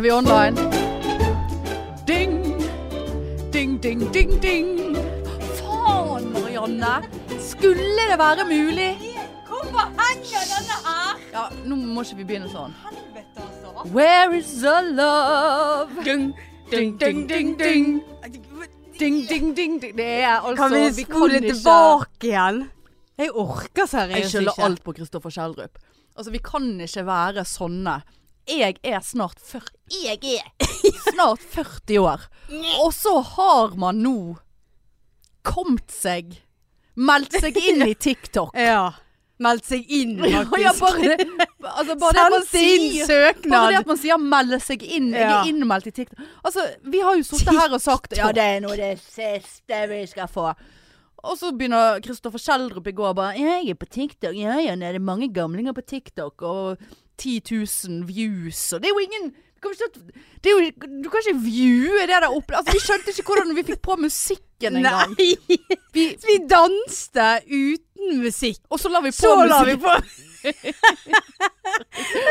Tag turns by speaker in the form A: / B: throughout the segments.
A: vi online. Ding, ding, ding, ding, ding. Faen, Marianne. Skulle det være mulig?
B: Hvorfor henger denne her?
A: Ja, nå må ikke vi begynne sånn.
B: Helvete, altså.
A: Where is the love?
C: Dung,
A: Ding, ding, ding, ding. Ding, ding, ding, ding. Det er altså
C: Kan vi spole
A: ikke-
C: tilbake igjen? Jeg orker
A: Jeg
C: seriøst ikke.
A: skylder alt på Kristoffer Kjeldrup. Altså, vi kan ikke være sånne. Jeg er snart 40 Jeg er snart 40 år. Og så har man nå kommet seg. Meldt seg inn i TikTok.
C: Ja. Meldt seg inn,
A: Ja, ja,
C: faktisk.
A: bare det, altså, bare det at man
C: Send sin
A: sier bare det
C: søknad.
A: at man sier 'melde seg inn'. Jeg
C: Ja.
A: er innmeldt i TikTok. Altså, vi har jo sittet her og sagt 'ja, det er nå det siste vi skal få'. Og så begynner Kristoffer Schjelderup i går bare 'jeg er på TikTok'. Ja ja, nei, det er mange gamlinger på TikTok, og 10 000 views, og det er jo ingen du kan ikke, det er jo, du kan ikke viewe det der oppe. Altså, vi skjønte ikke hvordan vi fikk på musikken engang.
C: Nei! Vi, vi danste uten musikk.
A: Og så la vi på
C: Så la vi
A: musikken.
C: på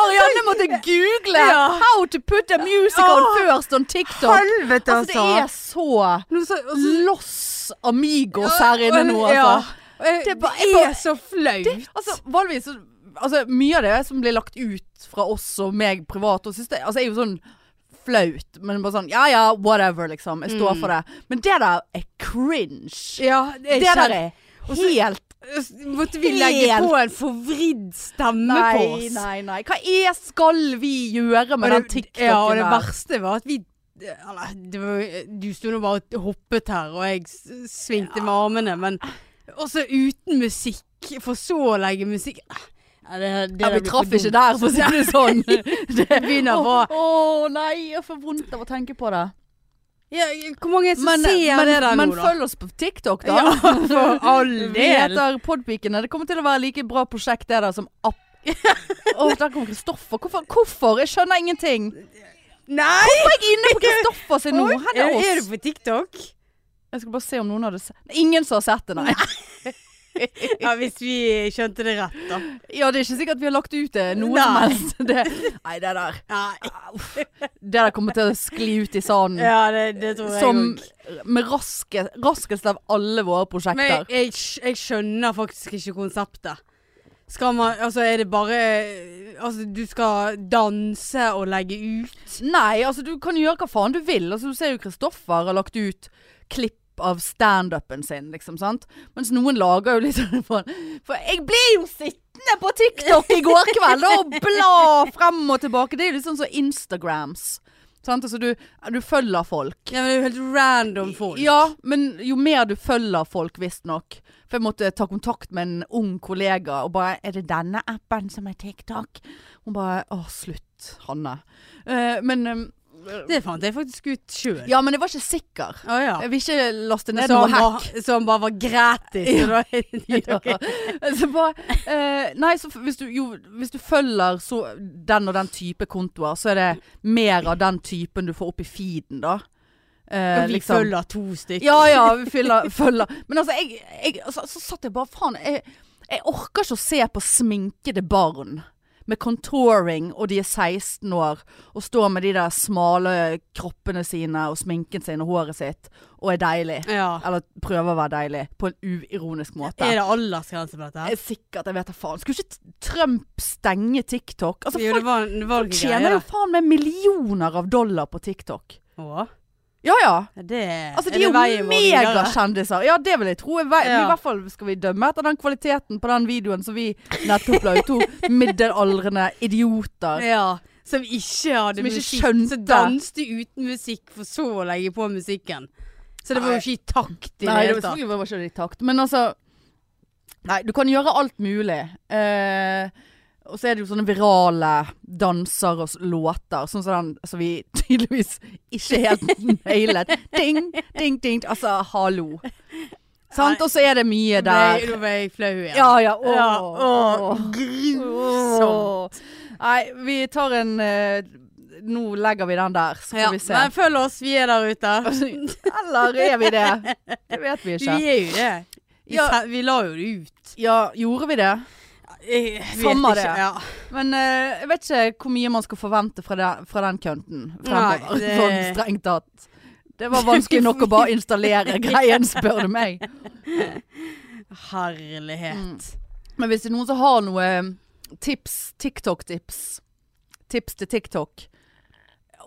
A: Marianne måtte google
C: Ja.
A: 'How to put a music on
C: Åh,
A: first on TikTok'.
C: Helvete,
A: Altså,
C: altså!
A: det er så
C: Nå så- og så-
A: Los amigos her inne nå,
C: Ja.
A: altså.
C: Eh,
A: Det er
C: Det,
A: bare- jeg bare-
C: er så flaut.
A: Altså, vanligvis så Altså, mye av det som blir lagt ut fra oss og meg privat, og synes det, altså, er jo sånn flaut. Men bare sånn ja ja, whatever, liksom. Jeg
C: Mm.
A: står for det. Men det der er cringe.
C: ja,
A: Det der er helt
C: Måtte vi legge
A: Helt.
C: på en forvridd stemme på
A: Nei,
C: oss?
A: nei, nei. Hva er skal vi gjøre med den
C: Og det-
A: TikToken
C: Ja, og det
A: der?
C: verste var at vi eller, det var, Du sto nå bare og hoppet her, og jeg s- svingte med armene, men også uten musikk. For så å legge musikk ja, det, det
A: Ja, vi traff ikke der, for å si det sånn. Det
C: begynner bare-
A: Å nei, jeg får vondt av å tenke på det.
C: Ja, hvor mange er det som
A: Men,
C: ser
A: men,
C: det der
A: men
C: nå, da?
A: følg oss på TikTok, da.
C: Ja, for all
A: Vi
C: del.
A: heter Podpikene. Det kommer til å være like bra prosjekt det der som app... Åh, der kom Kristoffer. Hvorfor? Hvorfor? Jeg skjønner ingenting.
C: Nei!
A: Hva er jeg inne på Kristoffer sin nå? Han
C: er,
A: er
C: er
A: oss.
C: du på TikTok?
A: Jeg skal bare se om noen hadde sett Ingen som har sett det, nei.
C: Ja, hvis vi skjønte det rett, da.
A: Ja, det er ikke sikkert vi har lagt ut det noe
C: Nei.
A: som helst. Det, nei, det der.
C: Nei.
A: Det der kommer til å skli ut i sanden.
C: Ja, det, det tror jeg
A: Som
C: òg.
A: med raske, raskest av alle våre
C: Men jeg,
A: prosjekter.
C: jeg, skj- jeg skjønner faktisk ikke konseptet. Skal man Altså, er det bare Altså, du skal danse og legge ut?
A: Nei, altså du kan gjøre hva faen du vil. Altså Du ser jo Kristoffer har lagt ut klipp av standupen sin, liksom. sant? Mens noen lager jo litt sånn For for jeg ble jo sittende på TikTok i går kveld da, og bla frem og tilbake. Det er jo litt sånn som Instagrams. Sant? Altså du, du følger folk.
C: Ja, men det er jo helt random folk.
A: Ja, men jo mer du følger folk, visstnok. For jeg måtte ta kontakt med en ung kollega og bare 'Er det denne appen som er TikTok?' Hun bare 'Å, slutt, Hanne'. Eh, men eh,
C: Det fant jeg faktisk ut sjøl.
A: Ja, men jeg var ikke sikker.
C: Å ja.
A: Jeg vil ikke laste ned
C: Som
A: noe
C: bare,
A: hack.
C: som bare var gratis. så da er det-
A: Ja. Så bare, eh, nei, så f- hvis du, jo, hvis du følger så den og den type kontoer, så er det mer av den typen du får opp i feeden, da. Eh,
C: Og vi
A: liksom.
C: følger to stykker.
A: Ja, ja, vi fyller, følger. Men altså, jeg, jeg, altså, så satt jeg bare, faen, jeg, jeg orker ikke å se på sminkede barn med contouring, og de er 16 år, og står med de der smale kroppene sine, og sminken sin, og håret sitt, og er deilig.
C: Ja.
A: Eller prøver å være deilig, på en uironisk måte.
C: Er det aldersgrense på dette? her?
A: Jeg er sikkert, jeg vet da faen. Skulle ikke Trump stenge TikTok? Altså,
C: jo, det
A: folk,
C: var, det var noen
A: folk tjener
C: greier.
A: jo faen meg millioner av dollar på TikTok.
C: Å,
A: Ja, ja.
C: det
A: Altså,
C: er
A: de er,
C: det veien
A: jo
C: vår videre?
A: megakjendiser. Ja, det vil jeg tro. er vei-
C: Ja.
A: I hvert fall skal vi dømme etter den kvaliteten på den videoen som vi nettopp la ut. To middelaldrende idioter.
C: Ja, som ikke hadde
A: Som ikke
C: musikk.
A: skjønte.
C: Som danste uten musikk, for så å legge på musikken. Så det var jo ikke i takt i det
A: Nei, det var
C: hele tatt.
A: selvfølgelig var ikke det i takt. Men altså Nei, du kan gjøre alt mulig. Eh, og så er det jo sånne virale danser og s- låter, sånn som den som vi tydeligvis ikke helt nailet. Ding, ding, ding. Altså, hallo. Sant? Og så er det mye
C: Nå ble
A: der.
C: jeg- Nå ble jeg flau igjen.
A: Ja, ja. Åh,
C: Ja,
A: åh.
C: Grusomt.
A: Nei, vi tar en eh, Nå legger vi den der, så får
C: Ja,
A: vi se.
C: men følg oss, vi er der ute.
A: Eller er vi det? Det vet vi
C: Vi
A: ikke.
C: er jo det. Vi,
A: Ja.
C: se- vi la jo det ut.
A: Ja, gjorde vi det?
C: Jeg vet
A: Samme det.
C: ikke, Ja.
A: Men eh, jeg vet ikke hvor mye man skal forvente fra, den- fra den kønten fremover.
C: Nei, det-
A: Sånn strengt tatt. Det var vanskelig nok å bare installere greien, spør du meg.
C: Herlighet.
A: Mm. Men hvis det er noen som har noe eh, tips, TikTok-tips, tips til TikTok,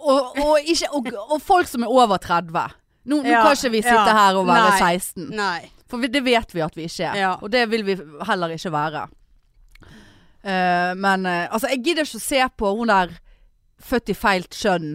A: og, og, ikke, og, og folk som er over 30 nå, nå
C: Ja,
A: kan ikke vi sitte
C: ja.
A: her og være
C: Nei.
A: 16.
C: Nei.
A: For vi, det vet vi at vi ikke er.
C: Ja.
A: Og det vil vi heller ikke være. Eh, men eh, altså, jeg gidder ikke å se på hun der født i feil kjønn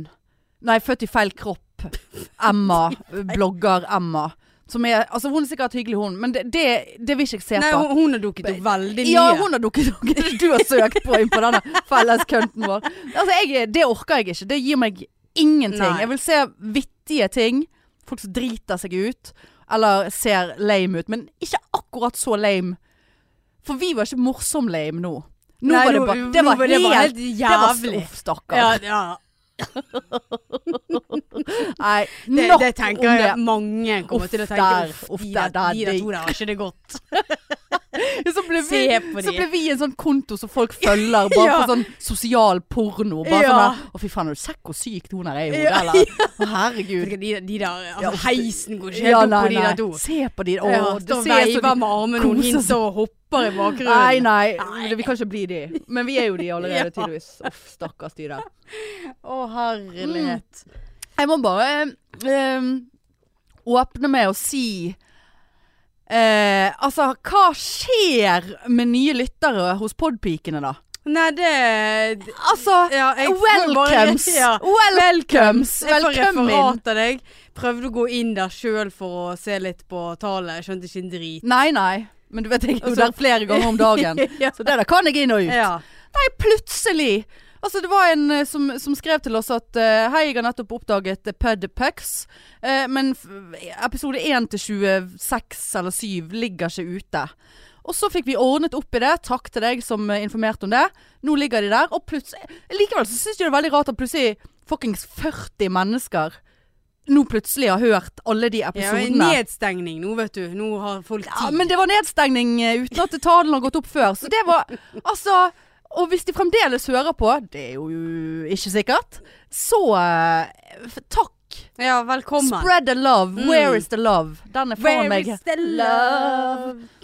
A: Nei, født i feil kropp. Emma. Blogger-Emma. Som er Altså, hun er sikkert hyggelig, hun, men det, det, det vil ikke jeg se
C: Nei,
A: på.
C: hun, hun har dukket opp veldig mye.
A: Ja, hun har dukket opp. Det er det Du har søkt på inn på denne felles kønten vår. Altså, jeg, det orker jeg ikke. Det gir meg ingenting.
C: Nei.
A: Jeg vil se vittige ting. Folk som driter seg ut. Eller ser lame ut. Men ikke akkurat så lame. For vi var ikke morsom-lame nå. Nå
C: Nei,
A: var det
C: nå-
A: bare Det
C: nå
A: var
C: var det
A: helt,
C: bare helt
A: Det var
C: jævlig.
A: stoff, stakkar.
C: ja, ja.
A: Nei,
C: Det,
A: nok
C: det tenker jeg
A: om det.
C: mange kommer
A: Uff,
C: til å tenke.
A: der,
C: Uff,
A: uff,
C: de
A: der,
C: der,
A: der,
C: de der
A: de-
C: to der har ikke det godt.
A: Så ble, vi,
C: Se på de.
A: så ble vi en sånn konto som folk følger, bare
C: Ja.
A: for sånn sosial porno. Bare
C: Ja.
A: sånn der, Å, fy faen, har du sett hvor sykt hun her er i hodet,
C: Ja.
A: eller? Å, herregud.
C: De, de der, altså,
A: Ja, uff.
C: Heisen går ikke helt
A: Ja,
C: opp
A: nei,
C: på de
A: nei.
C: der to.
A: Se på de. Å,
C: Ja,
A: det
C: da
A: ser så
C: veiver med armene og
A: koser
C: hinser
A: seg.
C: og hopper i bakgrunnen.
A: Nei, nei, det- vi kan ikke bli de. Men vi er jo de
C: Ja.
A: allerede, tydeligvis. Uff, stakkars de der.
C: Å, herlighet.
A: Jeg må bare eh, åpne med å si eh, Altså, hva skjer med nye lyttere hos podpikene, da?
C: Mm. Nei, det
A: Altså,
C: ja, jeg får
A: welcomes!
C: bare- Ja.
A: Welcomes!
C: Jeg får
A: Velkommen inn!
C: referat av deg. Prøvde å gå inn der sjøl for å se litt på tallet. Jeg Skjønte ikke en drit.
A: Nei, nei. Men du vet, jeg er jo
C: Altså-
A: der flere ganger om dagen.
C: Ja.
A: Så det der kan jeg inn og ut.
C: Ja.
A: Nei, plutselig! Altså, det var en eh, som, som skrev til oss at eh, Hei, jeg har nettopp oppdaget eh, Pud Pucks, eh, men f episode 1 til 26 eller 7 ligger ikke ute. Og så fikk vi ordnet opp i det. Takk til deg som eh, informerte om det. Nå ligger de der, og plutselig Likevel så syns jeg det er veldig rart at plutselig fuckings 40 mennesker nå plutselig har hørt alle de
C: Ja, men
A: episodene.
C: nedstengning nå, vet du. Nå har folk tid.
A: Ja, men det var nedstengning eh, uten at talen har gått opp før. Så det var Altså. Og hvis de fremdeles hører på, det er jo ikke sikkert, så eh, f- takk.
C: Ja, velkommen.
A: Spread the love.
C: Mm.
A: Where is the love? Den er faen meg
C: the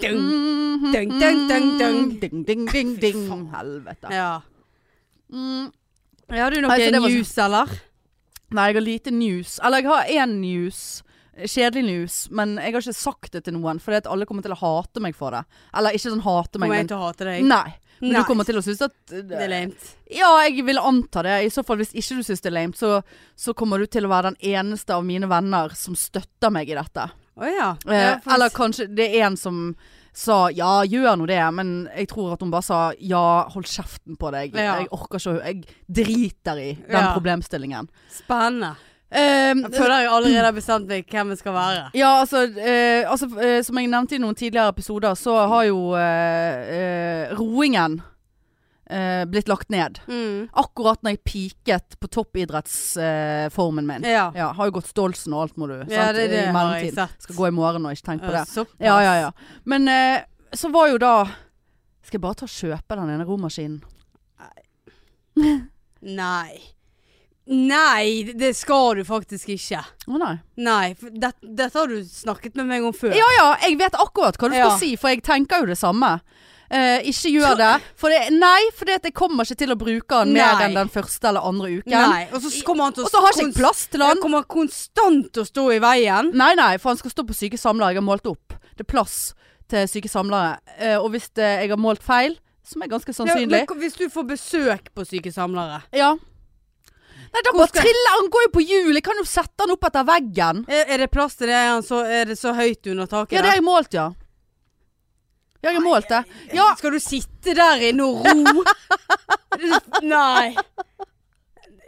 C: Dun.
A: Mhm.
C: Dun, dun, dun, dun.
A: Mm-hmm. Ding, ding, ding,
C: Fy
A: ding.
C: faen.
A: Helvete.
C: Ja.
A: Mm.
C: Har du noe
A: Altså, det var så-
C: news, eller?
A: Nei, jeg har lite news. Eller jeg har én news. Kjedelig news. Men jeg har ikke sagt det til noen, fordi at alle kommer til å hate meg for det. Eller ikke sånn hate meg,
C: Kommer jeg
A: men
C: til å hate deg?
A: Nei. Men
C: Nei.
A: du kommer til å synes at eh,
C: Det er lamet.
A: Ja, jeg vil anta det. I så fall hvis ikke du synes det er lame, så, så kommer du til å være den eneste av mine venner som støtter meg i dette.
C: Å ja.
A: Eh,
C: ja for-
A: eller kanskje det er en som sa ja, gjør nå det, men jeg tror at hun bare sa ja, hold kjeften på deg.
C: Ja.
A: Jeg orker ikke å Jeg driter i den
C: Ja.
A: problemstillingen.
C: Spennende.
A: Eh,
C: Jeg føler jeg allerede har bestemt meg hvem jeg skal være.
A: Ja, altså, eh, altså eh, Som jeg nevnte i noen tidligere episoder, så har jo eh, eh, roingen eh, blitt lagt ned. Akkurat når jeg piket på toppidrettsformen min.
C: Ja.
A: Ja, har jo gått Stolsen og alt, må du.
C: ja,
A: sant?
C: det, det
A: I
C: har jeg
A: mellomtiden.
C: sett.
A: Skal gå i morgen og ikke tenke på det.
C: Såpass.
A: Ja, ja, ja. Men eh, så var jo da Skal jeg bare ta og kjøpe den ene romaskinen?
C: Nei. Nei, det- det skal du faktisk ikke.
A: Å nei.
C: Nei, for det, dette har du snakket med meg om før.
A: Ja ja, jeg vet akkurat hva du skal
C: Ja.
A: si, for jeg tenker jo det samme. Eh, ikke gjør det. For det, nei, for det at jeg kommer ikke til å bruke den mer
C: Nei.
A: enn den første eller andre uken.
C: Nei, og så kommer han til å
A: Og så har ikke jeg
C: konst-
A: plass til
C: Han
A: den.
C: kommer konstant til å stå i veien.
A: Nei, nei, for han skal stå på syke samlere. Jeg har målt opp. Det er plass til syke samlere. Eh, og hvis det, jeg har målt feil, som er ganske
C: Ja,
A: sannsynlig
C: men hvis du får besøk på Syke samlere
A: Ja. Nei, da
C: Hvor
A: bare
C: skal-
A: triller han. Går jo på hjul. Jeg kan jo sette han opp etter veggen.
C: Er, er det plass til det? Er, han så, er det så høyt under taket?
A: Ja, det
C: der?
A: har jeg målt, ja. Ja, jeg har målt det. Ja,
C: Skal du sitte der inne og ro? Nei.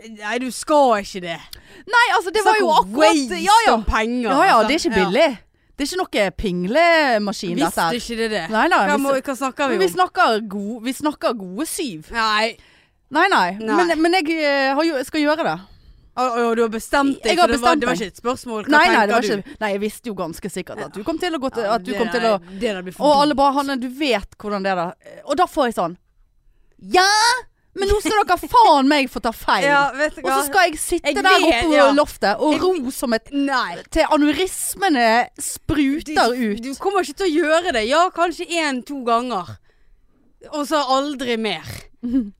C: Nei, du skal ikke det.
A: nei, altså, det var jo akkurat Ja, ja.
C: Penger,
A: Ja, ja, det er ikke
C: altså.
A: billig. Det er ikke noe pinglemaskin,
C: Ja.
A: dette
C: Visste
A: her.
C: ikke det det?
A: Nei, nei.
C: Hva, må,
A: Vi,
C: hva snakker
A: men
C: vi
A: vi
C: om?
A: snakker, gode, vi snakker gode syv.
C: Nei.
A: Nei, nei.
C: Nei.
A: Men, men jeg eh, har jo, skal gjøre det.
C: Og, og du har bestemt deg?
A: Jeg har
C: så det var-
A: bestemt
C: Det var
A: meg.
C: ikke et spørsmål? Hva
A: Nei, nei, det
C: tenker
A: var
C: du?
A: ikke, nei, jeg visste jo ganske sikkert at du kom til å gå til,
C: Ja,
A: at du
C: det
A: kom til
C: der-
A: å
C: Det der blir for
A: Og alle
C: dumt.
A: bare Hanne, du vet hvordan det er da. Og da får jeg sånn Ja! Men nå skal dere faen meg få ta feil.
C: Ja, vet du
A: Og så
C: hva.
A: skal jeg sitte
C: Jeg
A: der
C: vet,
A: oppe på
C: ja.
A: loftet og ro som et
C: Nei.
A: Til aneurismene spruter
C: Du-
A: ut.
C: Du kommer ikke til å gjøre det. Ja, kanskje én-to ganger. Og så aldri mer.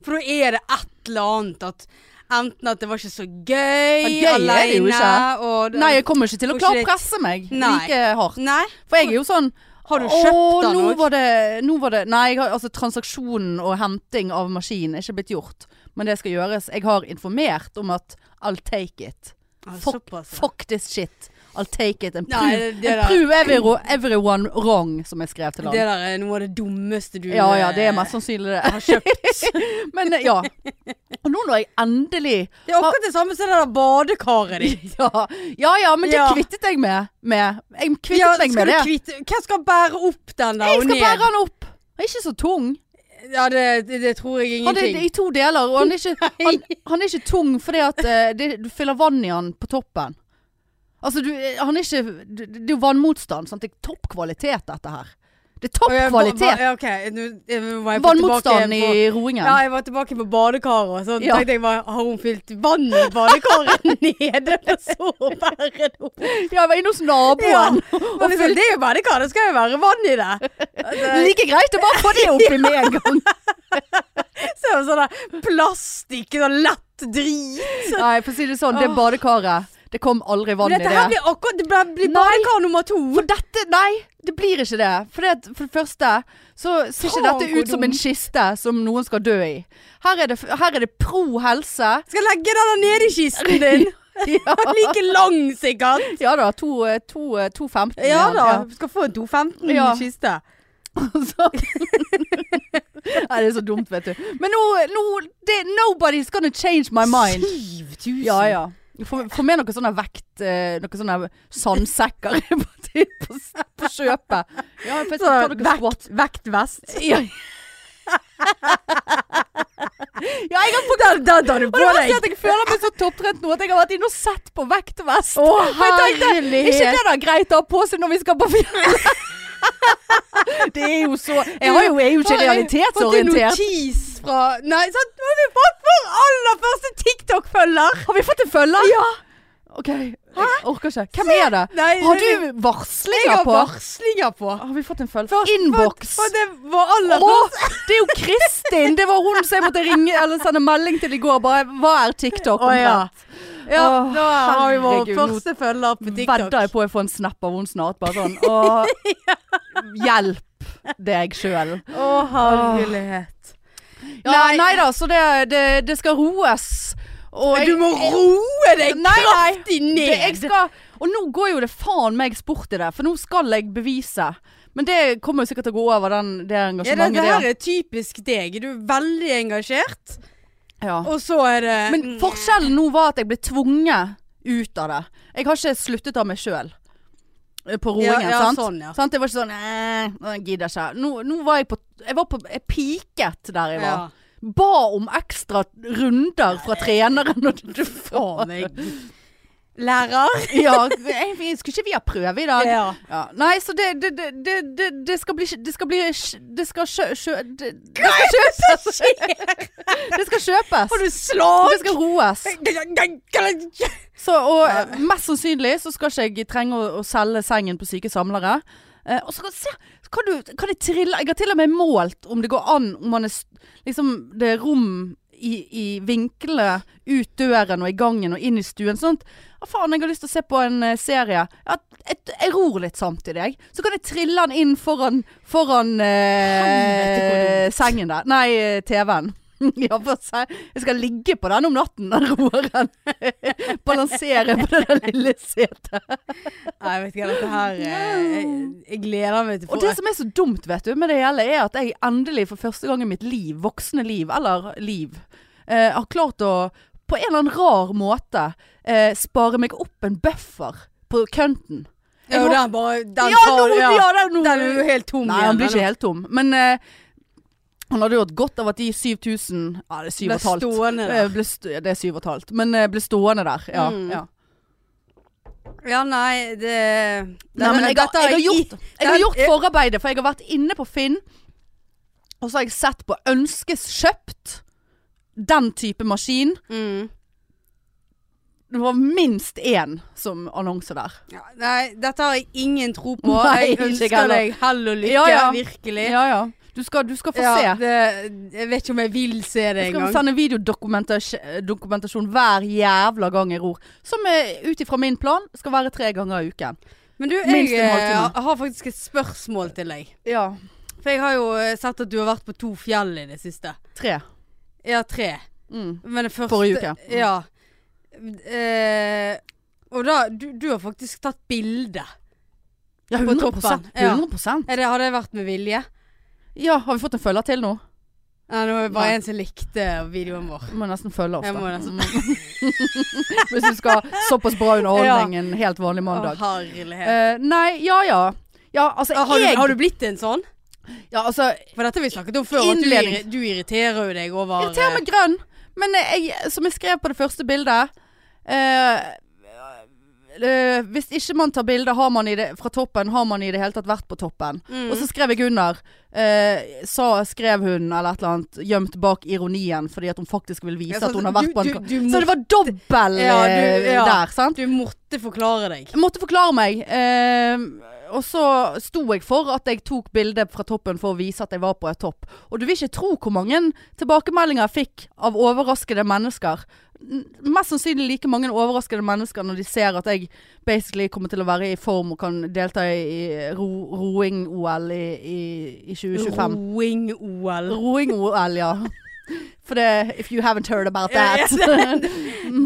C: For da er det et eller annet at Enten at det var ikke så gøy
A: Ja, gøy er det jo
C: alene,
A: ikke.
C: og det-
A: Nei, jeg kommer ikke til å
C: Får
A: klare å
C: ikke
A: presse meg
C: Nei.
A: like hardt.
C: Nei.
A: For jeg er jo sånn
C: Har du kjøpt
A: «Åh,
C: den
A: nå
C: òg?
A: var det, nå var det Nei, jeg har, altså, transaksjonen og henting av maskinen er ikke blitt gjort. Men det skal gjøres. Jeg har informert om at I'll take it.
C: Ja,
A: Fuck,
C: såpass, ja.
A: fuck this shit. I'll take it and
C: Nei,
A: prove,
C: det- det
A: and
C: der-
A: prove every, everyone wrong, som jeg skrev til
C: Det
A: ham.
C: der er noe av det dummeste du
A: Ja ja, det er
C: eh,
A: mest sannsynlig det.
C: har kjøpt.
A: Men eh, ja. Og nå når jeg endelig
C: Det er akkurat det samme som det der badekaret ditt.
A: Ja ja, ja men det
C: Ja.
A: kvittet jeg med. med. Jeg kvittet
C: Ja,
A: meg
C: skal
A: med
C: du
A: det.
C: kvitte Hvem skal bære opp den der
A: Jeg
C: og
A: skal
C: ned?
A: bære han opp. Han er ikke så tung.
C: Ja, det, det, det tror jeg
A: Han er
C: ingenting.
A: i to deler, og han er ikke, han, han er ikke tung fordi at eh, det, du fyller vann i han på toppen. Altså, du, han er ikke Det det er jo vannmotstand. Sant? Det er topp kvalitet, dette her. Det er topp
C: Å, jeg var- var-
A: kvalitet.
C: Ja, ok. Nå- jeg var jeg på
A: Vannmotstand
C: tilbake
A: i
C: på-
A: roingen.
C: Ja, jeg var tilbake på badekaret, og så
A: Ja.
C: tenkte jeg bare Har hun fylt vann i badekaret nede, og så bærer det opp?
A: Ja, jeg var inne hos naboen.
C: Men liksom, det er jo badekar, det skal jo være vann i det. Altså,
A: Like greit å bare få det oppi med en gang.
C: så er det sånn der plastikk, sånn lett drit. Så-
A: Nei, for å si det sånn, det badekaret Det kom aldri vann
C: Men
A: i
C: dette her
A: det.
C: blir akkurat Det blir- blir
A: Nei.
C: badekar nummer to.
A: For dette Nei, det blir ikke det. For, det, for det første så ser ikke
C: Faen,
A: dette
C: hvor
A: ut som en
C: dumt.
A: kiste som noen skal dø i. Her er det, her er det pro helse.
C: Skal jeg legge den der nede i kisten din.
A: Ja,
C: Like lang, sikkert.
A: ja da. 2,15.
C: Ja da. Skal få en 215
A: Ja.
C: kiste.
A: Nei, det er så dumt, vet du. Men nå, nå det, Nobody's gonna change my mind.
C: 7000.
A: Ja ja. Få få med noe sånne vekt... eh, Noen sånne sandsekker på, på, på kjøpet. Ja, jeg får ta
C: Så,
A: noen squat
C: vekt, vektvest.
A: Ja. ja, jeg har fått
C: Da, da tar du
A: og det
C: på
A: verste er
C: deg.
A: at jeg føler meg så topptrent nå at jeg har vært inne og sett på vektvest.
C: Å,
A: For jeg tenkte,
C: herlighet.
A: ikke det da greit å ha på seg når vi skal på fjellet? det er jo så Jeg, har jo, jeg er jo ikke
C: Har
A: realitetsorientert.
C: vi fått en notis fra Nei, sant? Nå har vi fått vår aller første TikTok-følger!
A: Har vi fått en følger? Ja. OK, jeg orker ikke. Hvem er det?
C: Nei,
A: Har
C: det-
A: du
C: Jeg har
A: varslinger på?
C: varslinger på.
A: Har vi fått en følger?
C: Først-
A: Innboks.
C: Og det var aller
A: Å,
C: først.
A: det er jo Kristin! Det var hun som jeg måtte ringe eller sende melding til i går. Bare, hva er TikTok?
C: Å, ja. Ja,
A: Å,
C: da har vi vår
A: herregud, nå
C: første følger på TikTok.
A: Vedder jeg på jeg får en snap av hun snart. Bare sånn Å, hjelp deg sjøl.
C: Å, herlighet.
A: Ja, nei.
C: Nei.
A: da, så det, det, det skal roes. Og
C: Du må roe deg
A: Nei, nei.
C: kraftig
A: det, jeg
C: ned.
A: skal, Og nå går jo det faen meg sport i det, for nå skal jeg bevise. Men det kommer jo sikkert til å gå over, den, det
C: Ja, det,
A: engasjementet.
C: det her
A: der.
C: er typisk deg. Du er veldig engasjert,
A: Ja.
C: og så er det Mm.
A: Men forskjellen nå var at jeg ble tvunget ut av det. Jeg har ikke sluttet av meg sjøl. På roingen,
C: Ja, ja,
A: sant?
C: sånn, ja.
A: sant? Det var ikke sånn «Eh, Nå gidder jeg ikke. Nå, nå var jeg på Jeg var på Jeg piket der jeg var.
C: Ja.
A: Ba om ekstra runder fra treneren. Og du
C: Faen meg. Lærer.
A: Ja, jeg, vi- skulle ikke vi ha prøve i dag?
C: Ja.
A: Ja, Nei, så det det, det, det, det det skal bli Det skal bli Det skal sjø... sjø det, det skal kjøpes! Det skal kjøpes.
C: Har du
A: Og
C: slag?
A: det skal roes. Så, og eh, mest sannsynlig så skal ikke jeg trenge å, å selge sengen på syke samlere. Eh, og så kan, se, så kan, du, kan det trille Jeg har til og med målt om det går an om man er s- liksom det er rom i, i vinklene ut døren og i gangen og inn i stuen. Sånn at ja, faen, jeg har lyst til å se på en eh, serie. Ja, jeg, jeg ror litt samtidig, jeg. Så kan jeg trille den inn foran, foran eh,
C: Helvete,
A: sengen der. Nei, eh, TV-en. Ja, for å si- jeg skal ligge på den om natten, den roeren balansere på det der lille setet.
C: Nei, vet ikke hva dette her eh, jeg, jeg gleder meg til
A: Og det som er så dumt vet du, med det hele, er at jeg endelig for første gang i mitt liv, voksne liv, eller liv, eh, har klart å på en eller annen rar måte eh, spare meg opp en buffer på kønten.
C: Ja, og den bare den
A: Ja, nå- ja, den- nå-
C: den er jo helt tom
A: Nei, han blir ikke
C: igjen.
A: helt tom, men eh, Han hadde jo hatt godt av at de 7000 Ja, det er syv og
C: Ble
A: et halvt.
C: stående der.
A: Eh, Ble st det er syv og et halvt. Men eh, ble stående der. Ja.
C: Mm.
A: ja.
C: Ja, nei, det
A: Nei, men jeg, har- jeg, har gjort, jeg har gjort forarbeidet, for jeg har vært inne på Finn. Og så har jeg sett på Ønskes kjøpt. Den type maskin.
C: mm.
A: Det var minst én som annonse der.
C: ja, Nei, dette har jeg ingen tro på.
A: Nei,
C: jeg
A: ikke jeg
C: ønsker
A: heller.
C: deg hell og lykke,
A: Ja, ja.
C: virkelig.
A: Ja ja. Du skal, du skal få se.
C: det, jeg vet ikke om jeg vil se det
A: Jeg skal
C: engang.
A: sende videodokumentasjon hver jævla gang jeg ror. Som eh, ut ifra min plan skal være tre ganger i uken.
C: Men du, jeg
A: Minst en
C: eh,
A: halvtime.
C: har faktisk et spørsmål til deg.
A: Ja.
C: For jeg har jo eh, sett at du har vært på to fjell i det siste.
A: Tre.
C: Ja, tre.
A: Mm.
C: Men det første
A: Forrige uke. Mm.
C: Ja. Eh, og da du, du har faktisk tatt bilde.
A: Ja,
C: På
A: 100
C: toppen, ja.
A: 100
C: Er det, har det vært med vilje?
A: Ja, har vi fått en følger til nå?
C: Nei, nå er det bare
A: Nei.
C: en som likte videoen vår.
A: Vi må nesten følge oss,
C: Jeg må
A: da.
C: nesten-
A: Mm. Hvis du skal ha såpass bra underholdning en helt vanlig mandag.
C: Å, herlighet.
A: Eh, nei, ja ja. Ja, altså
C: har, du,
A: jeg
C: har du blitt en sånn?
A: Ja, altså
C: For dette har vi snakket om før. At du,
A: Innledning.
C: irri- du irriterer jo deg over
A: Irriterer meg grønn. Men eh, jeg, som jeg skrev på det første bildet eh, eh, Hvis ikke man tar bilde har man i det- fra toppen, har man i det hele tatt vært på toppen.
C: Mm.
A: Og så skrev jeg under. Eh, sa, skrev hun eller et eller annet gjemt bak ironien fordi at hun faktisk vil vise
C: Ja, så
A: at hun har
C: du-
A: vært på en
C: du- du
A: Så det var dobbel
C: Ja, du-
A: eh,
C: ja.
A: der, sant?
C: Du måtte forklare deg.
A: Jeg måtte forklare meg. eh, og så sto jeg for at jeg tok bilde fra toppen for å vise at jeg var på et topp. Og du vil ikke tro hvor mange tilbakemeldinger jeg fikk av overraskede mennesker. N- Mest sannsynlig like mange overraskede mennesker når de ser at jeg basically kommer til å være i form og kan delta i ro roing-OL i, i, i 2025.
C: Roing-OL.
A: Roing-OL, ja. For det If you haven't heard about
C: Ja,
A: that.
C: yes,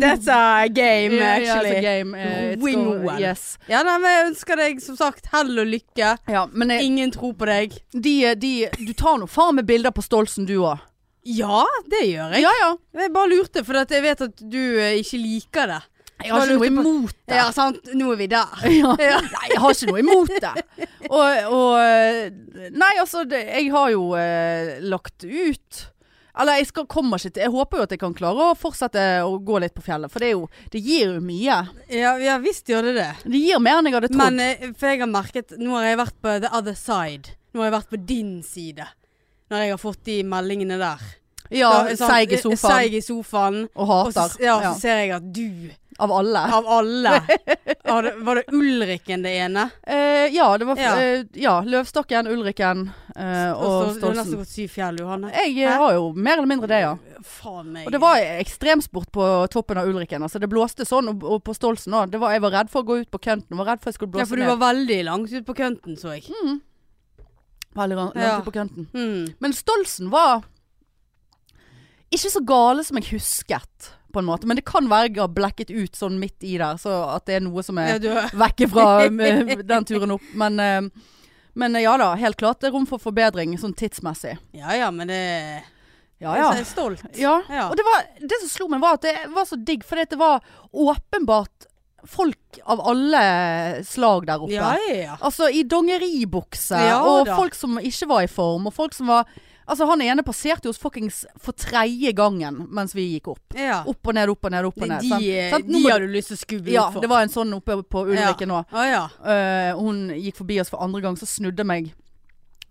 C: That's a game,
A: Yeah, yeah,
C: actually.
A: it's a altså game, eh, it's
C: Roing-OL.
A: go- Yes.
C: Ja, nei, men jeg ønsker deg som sagt hell og lykke.
A: Ja, men eh, jeg,
C: Ingen tror på deg.
A: de, eh, de, du tar nå faen meg bilder på Stolsen du òg.
C: Ja, det gjør jeg.
A: Ja ja.
C: Jeg bare lurte, for at jeg vet at du eh, ikke liker det.
A: Jeg har ikke noe imot det.
C: Ja, sant. Nå er vi der.
A: Ja. Nei, jeg har ikke noe imot det. Og, og Nei, altså, det, jeg har jo eh, lagt ut Eller jeg skal, kommer ikke til Jeg håper jo at jeg kan klare å fortsette å gå litt på fjellet, for det, er jo, det gir jo mye.
C: Ja, ja visst gjør det det.
A: Det gir mer enn jeg hadde trodd.
C: Men eh, for jeg har merket Nå har jeg vært på the other side. Nå har jeg vært på din side. Når jeg har fått de meldingene der.
A: ja,
C: Da, sant,
A: seig i
C: eh,
A: sofaen.
C: Seig i sofaen.
A: Og
C: Og så,
A: hater.
C: ja, så
A: Ja,
C: ser jeg at du,
A: av alle.
C: av alle Var det, var det Ulriken det ene?
A: Eh, ja, det var
C: Ja.
A: eh, ja, Løvstakken, Ulrikken eh, og
C: så- Du har nesten
A: Stolsen.
C: gått syv fjell, Johanne.
A: Jeg eh,
C: Hæ?
A: har jo mer eller mindre det, ja.
C: Faen meg.
A: Og det var ekstremsport på toppen av Ulriken. Altså, det blåste sånn, og, og på Stolsen òg. Jeg var redd for å gå ut på kønten. Var redd for jeg skulle
C: ja,
A: blåse
C: for du
A: ned.
C: var veldig langt ut på kønten, så jeg.
A: Veldig lang-
C: Ja.
A: langt ut på kønten.
C: Mm.
A: Men Stolsen var ikke så gale som jeg husket, på en måte. Men det kan være jeg har blekket ut sånn midt i der, så at det er noe som er
C: Ja, du,
A: vekk fra eh, den turen opp. Men, eh, men eh, ja da, helt klart det er rom for forbedring sånn tidsmessig.
C: ja, ja, men det
A: Ja ja.
C: Jeg er stolt.
A: Ja.
C: Ja.
A: Og det, var, det som slo meg var at det var så digg, fordi at det var åpenbart folk av alle slag der oppe.
C: ja, ja, ja.
A: Altså i dongeribukse,
C: Ja
A: og
C: da.
A: folk som ikke var i form, og folk som var Altså han ene passerte jo oss fuckings for tredje gangen mens vi gikk opp.
C: ja.
A: Opp og ned, opp og ned, opp og
C: De,
A: ned. sant?
C: de,
A: Sant? Nå
C: de
A: må-
C: har du lyst til å skubbe
A: ja,
C: ut for.
A: det var en sånn oppe på Ulriken nå.
C: Å ja.
A: Eh, hun gikk forbi oss for andre gang, så snudde meg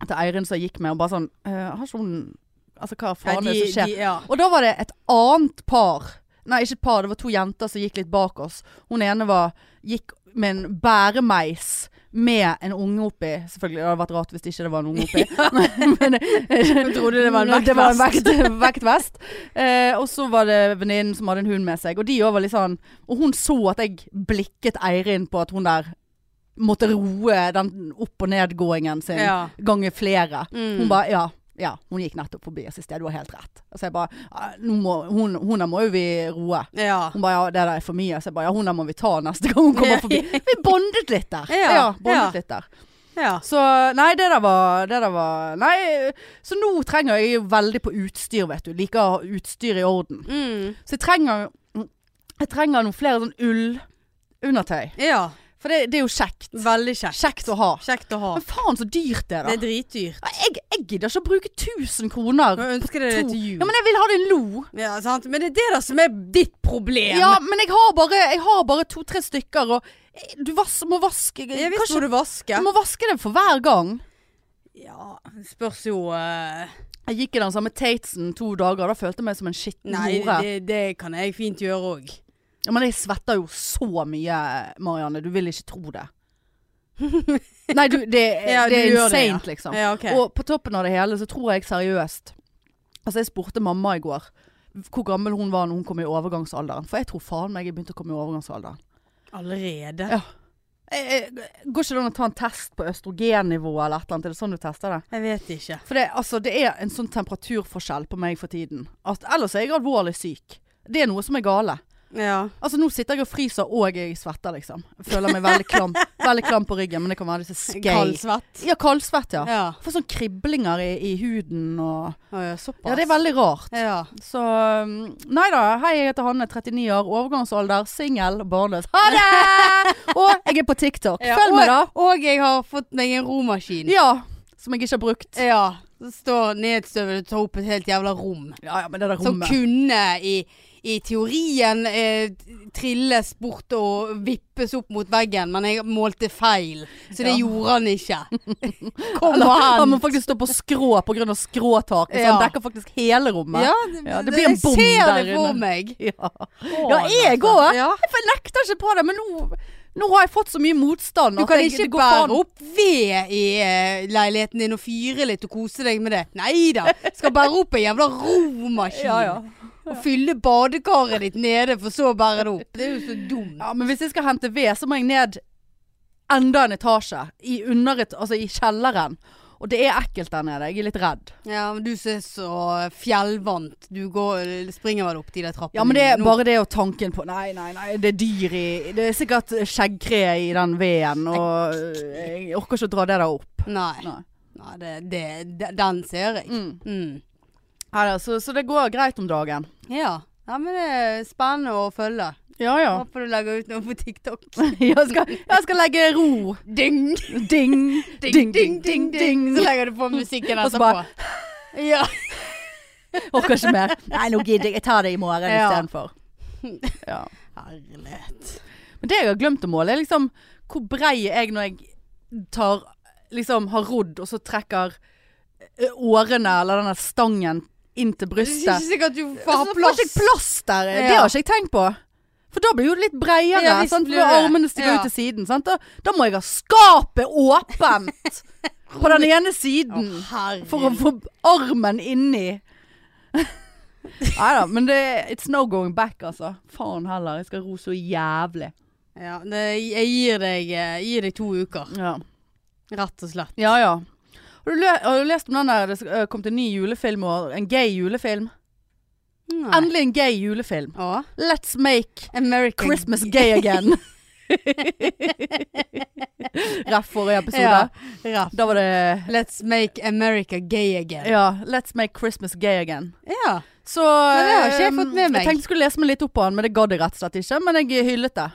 A: til Eirin som jeg gikk med, og bare sånn eh, Har ikke hun Altså hva faen er
C: Nei,
A: det som skjer?
C: de, ja.
A: Og da var det et annet par Nei, ikke et par, det var to jenter som gikk litt bak oss Hun ene var, gikk med en bæremeis Med en unge oppi Selvfølgelig, det hadde vært rart hvis det ikke var en unge oppi Men
C: Hun trodde Mm, det var en
A: Det var en
C: vektvest.
A: vekt, vektvest eh, Og så var det venninnen som hadde en hund med seg Og de også var litt sånn Og hun så at jeg blikket Eirin på at hun der Måtte roe den opp- og nedgåingen sin
C: ja.
A: Ganger flere
C: Mm.
A: hun bare ja, ja, hun gikk nettopp forbi oss i sted, du har helt rett. Og så jeg bare «Ja, nå må, hun, hun der må jo vi roe.
C: ja.
A: Hun bare ja, det der er for mye. Så jeg bare ja, hun der må vi ta neste gang hun kommer forbi. Vi bondet litt der.
C: Ja,
A: bondet
C: ja.
A: litt der.
C: ja.
A: Så nei, det der var Det der var Nei, så nå trenger jeg jo veldig på utstyr, vet du. Liker å ha utstyr i orden.
C: Mm.
A: Så jeg trenger Jeg trenger noen flere sånn ullundertøy.
C: ja.
A: For det, det er jo kjekt.
C: Veldig kjekt.
A: Kjekt å ha.
C: Kjekt å ha.
A: Men faen så dyrt det er, da.
C: Det er dritdyrt.
A: Jeg, jeg gidder ikke å bruke 1000 kroner.
C: Jeg ønsker deg det
A: To-
C: til jul.
A: Ja, men jeg vil ha det nå.
C: Ja, sant? Men det er det da som er ditt problem.
A: Ja, men jeg har bare, jeg har bare to-tre stykker, og eh, du vas må vaske
C: jeg visste
A: Kanskje
C: hvor du vasker.
A: du må vaske det for hver gang.
C: Ja, det spørs jo eh,
A: Jeg gikk i den samme Tatesen to dager, da følte jeg meg som en skitten
C: Nei,
A: hore.
C: det, det kan jeg fint gjøre òg.
A: Ja, men jeg svetter jo så mye, Marianne. Du vil ikke tro det. Nei, du, det,
C: Ja,
A: det
C: du
A: er
C: gjør
A: insane,
C: det, ja.
A: liksom.
C: Ja, ok.
A: Og på toppen av det hele så tror jeg seriøst Altså, jeg spurte mamma i går hvor gammel hun var når hun kom i overgangsalderen. For jeg tror faen meg jeg begynte å komme i overgangsalderen.
C: Allerede?
A: Ja. Jeg, jeg, Eh, går ikke det an å ta en test på østrogennivå eller et eller annet? Er det sånn du tester det?
C: Jeg vet ikke.
A: For det, altså, det er en sånn temperaturforskjell på meg for tiden. At ellers er jeg alvorlig syk. Det er noe som er gale.
C: Ja.
A: Altså Nå sitter jeg og fryser og jeg svetter, liksom. Jeg føler meg veldig klam, veldig klam på ryggen, men det kan være disse skei...
C: Kaldsvett?
A: Ja, kaldsvett, ja.
C: Ja.
A: Får sånn kriblinger i, i huden og
C: Å, ja, såpass.
A: Ja, det er veldig rart.
C: Ja.
A: Så um, Nei da. Hei, jeg heter Hanne, 39 år, overgangsalder, singel, barnløs. Ha det! Og jeg er på TikTok.
C: Ja,
A: Følg med, da.
C: og, og jeg har fått meg en romaskin.
A: Ja. Som jeg ikke har brukt.
C: ja. Så står nedstøvet og tar opp et helt jævla rom.
A: Ja, ja, men det der
C: Som
A: rommet
C: kunne i, i teorien eh, trilles bort og vippes opp mot veggen, men jeg målte feil. Så det
A: Ja.
C: gjorde han ikke.
A: Han
C: Kom og
A: han må
C: hent!
A: faktisk stå på skrå pga. skråtaket, så han
C: Ja.
A: liksom. dekker faktisk hele rommet. Ja, det blir en bom
C: Jeg ser
A: der
C: det for
A: inne.
C: meg.
A: Ja, ja jeg
C: altså.
A: òg.
C: Ja.
A: Jeg nekter ikke på det, men nå, nå har jeg fått så mye motstand.
C: Du
A: at
C: kan
A: jeg-
C: ikke
A: det går
C: bære
A: faen-
C: opp ved i eh, leiligheten din og fyre litt og kose deg med det. Nei da. Skal bære opp en jævla romaskin.
A: Ja, ja.
C: Og fylle badekaret ditt nede, for så å bære det opp. Det er jo så dumt.
A: Ja, men hvis jeg skal hente ved, så må jeg ned enda en etasje. I, under et, altså i kjelleren. Og det er ekkelt der nede. Jeg er litt redd.
C: Ja, men du som er så fjellvant. Du går, springer vel opp de der trappene.
A: Ja, men det er
C: nå.
A: bare det og tanken på Nei, nei, nei. Det er dyr i Det er sikkert skjeggkre i den veden, og eh, jeg orker ikke å dra det der opp.
C: Nei.
A: Nei.
C: Nei, det, det, de- den ser jeg.
A: Mm.
C: Mm.
A: Nei, da, så, så det går greit om dagen.
C: Ja. ja, men det er spennende å følge.
A: Ja, ja.
C: Håper du legger ut noe på TikTok.
A: Jeg skal, jeg skal legge ro.
C: Ding!
A: Ding, ding, ding, ding, ding.
C: Så legger du på musikken
A: Og så
C: etterpå.
A: bare-
C: Ja.
A: Orker ikke mer. Nei, nå gidder jeg. Jeg tar det i morgen
C: Ja.
A: istedenfor. Ja.
C: Herlighet.
A: Men det jeg har glemt å måle, er liksom hvor brei er jeg når jeg tar Liksom har rodd, og så trekker ø, årene eller den der stangen inn til
C: Det er ikke
A: brystet.
C: sikkert du
A: Så
C: får ha
A: Altså, får
C: plass.
A: ikke jeg plass der.
C: Ja.
A: Det har ikke jeg tenkt på. For da blir jo det litt breiere.
C: Ja, visst
A: sant?
C: blir
A: For
C: det.
A: armene stikker
C: Ja.
A: ut til siden. Sant? Da, da må jeg ha skapet åpent på den ene
C: Å,
A: siden.
C: herregud.
A: For å få armen inni. Nei da, men det It's no going back, altså. Faen heller. Jeg skal ro så jævlig.
C: Ja, det, jeg gir deg, eh, gir deg to uker,
A: Ja
C: rett og slett.
A: ja. ja. Har, du le har du lest om den der det sk- øh, kom til en ny julefilm og en gay julefilm?
C: Nei.
A: Endelig en gay julefilm.
C: Å,
A: Let's make
C: American
A: Christmas gay again. Ref forrige episode.
C: Ja, rap.
A: Da var det
C: Let's make America gay again.
A: Ja, Let's make Christmas gay again.
C: Ja.
A: Så
C: det har ikke jeg
A: eh,
C: fått med meg.
A: Jeg tenkte jeg skulle lese meg litt opp på han, men det gadd jeg rett og slett ikke. Men jeg hyllet det.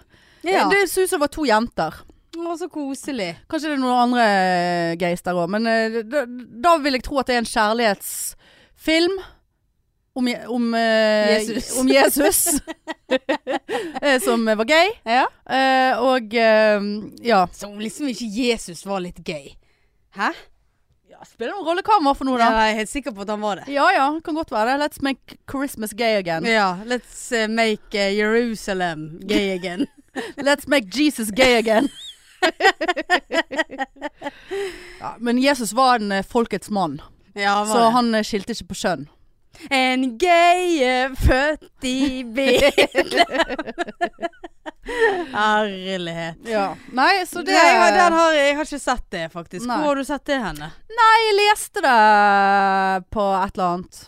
C: ja.
A: Det ser ut som det var to jenter.
C: Å, så koselig.
A: Kanskje det er noen andre geis der òg, men eh, da, da vil jeg tro at det er en kjærlighetsfilm. Om, Je- om, eh,
C: Jesus.
A: om Jesus. Eh, som var gay.
C: Ja.
A: Eh, og eh, ja.
C: Som om liksom ikke Jesus var litt gay. Hæ?
A: ja Spiller noen rolle hva han var for noe,
C: Ja,
A: da.
C: jeg er helt sikker på at han var det.
A: Ja ja, kan godt være det. Let's make Christmas gay again.
C: Ja. Let's eh, make eh, Jerusalem gay again.
A: Let's make Jesus gay again. ja, men Jesus var en eh, folkets mann,
C: Ja, han var
A: så
C: det.
A: han eh, skilte ikke på kjønn.
C: En gay er født i Betlehem. Herlighet.
A: Nei, så det
C: Nei, jeg, har, den har, jeg har ikke sett det, faktisk.
A: Nei. Mm.
C: Hvor har du sett det henne?
A: Jeg leste det på et eller annet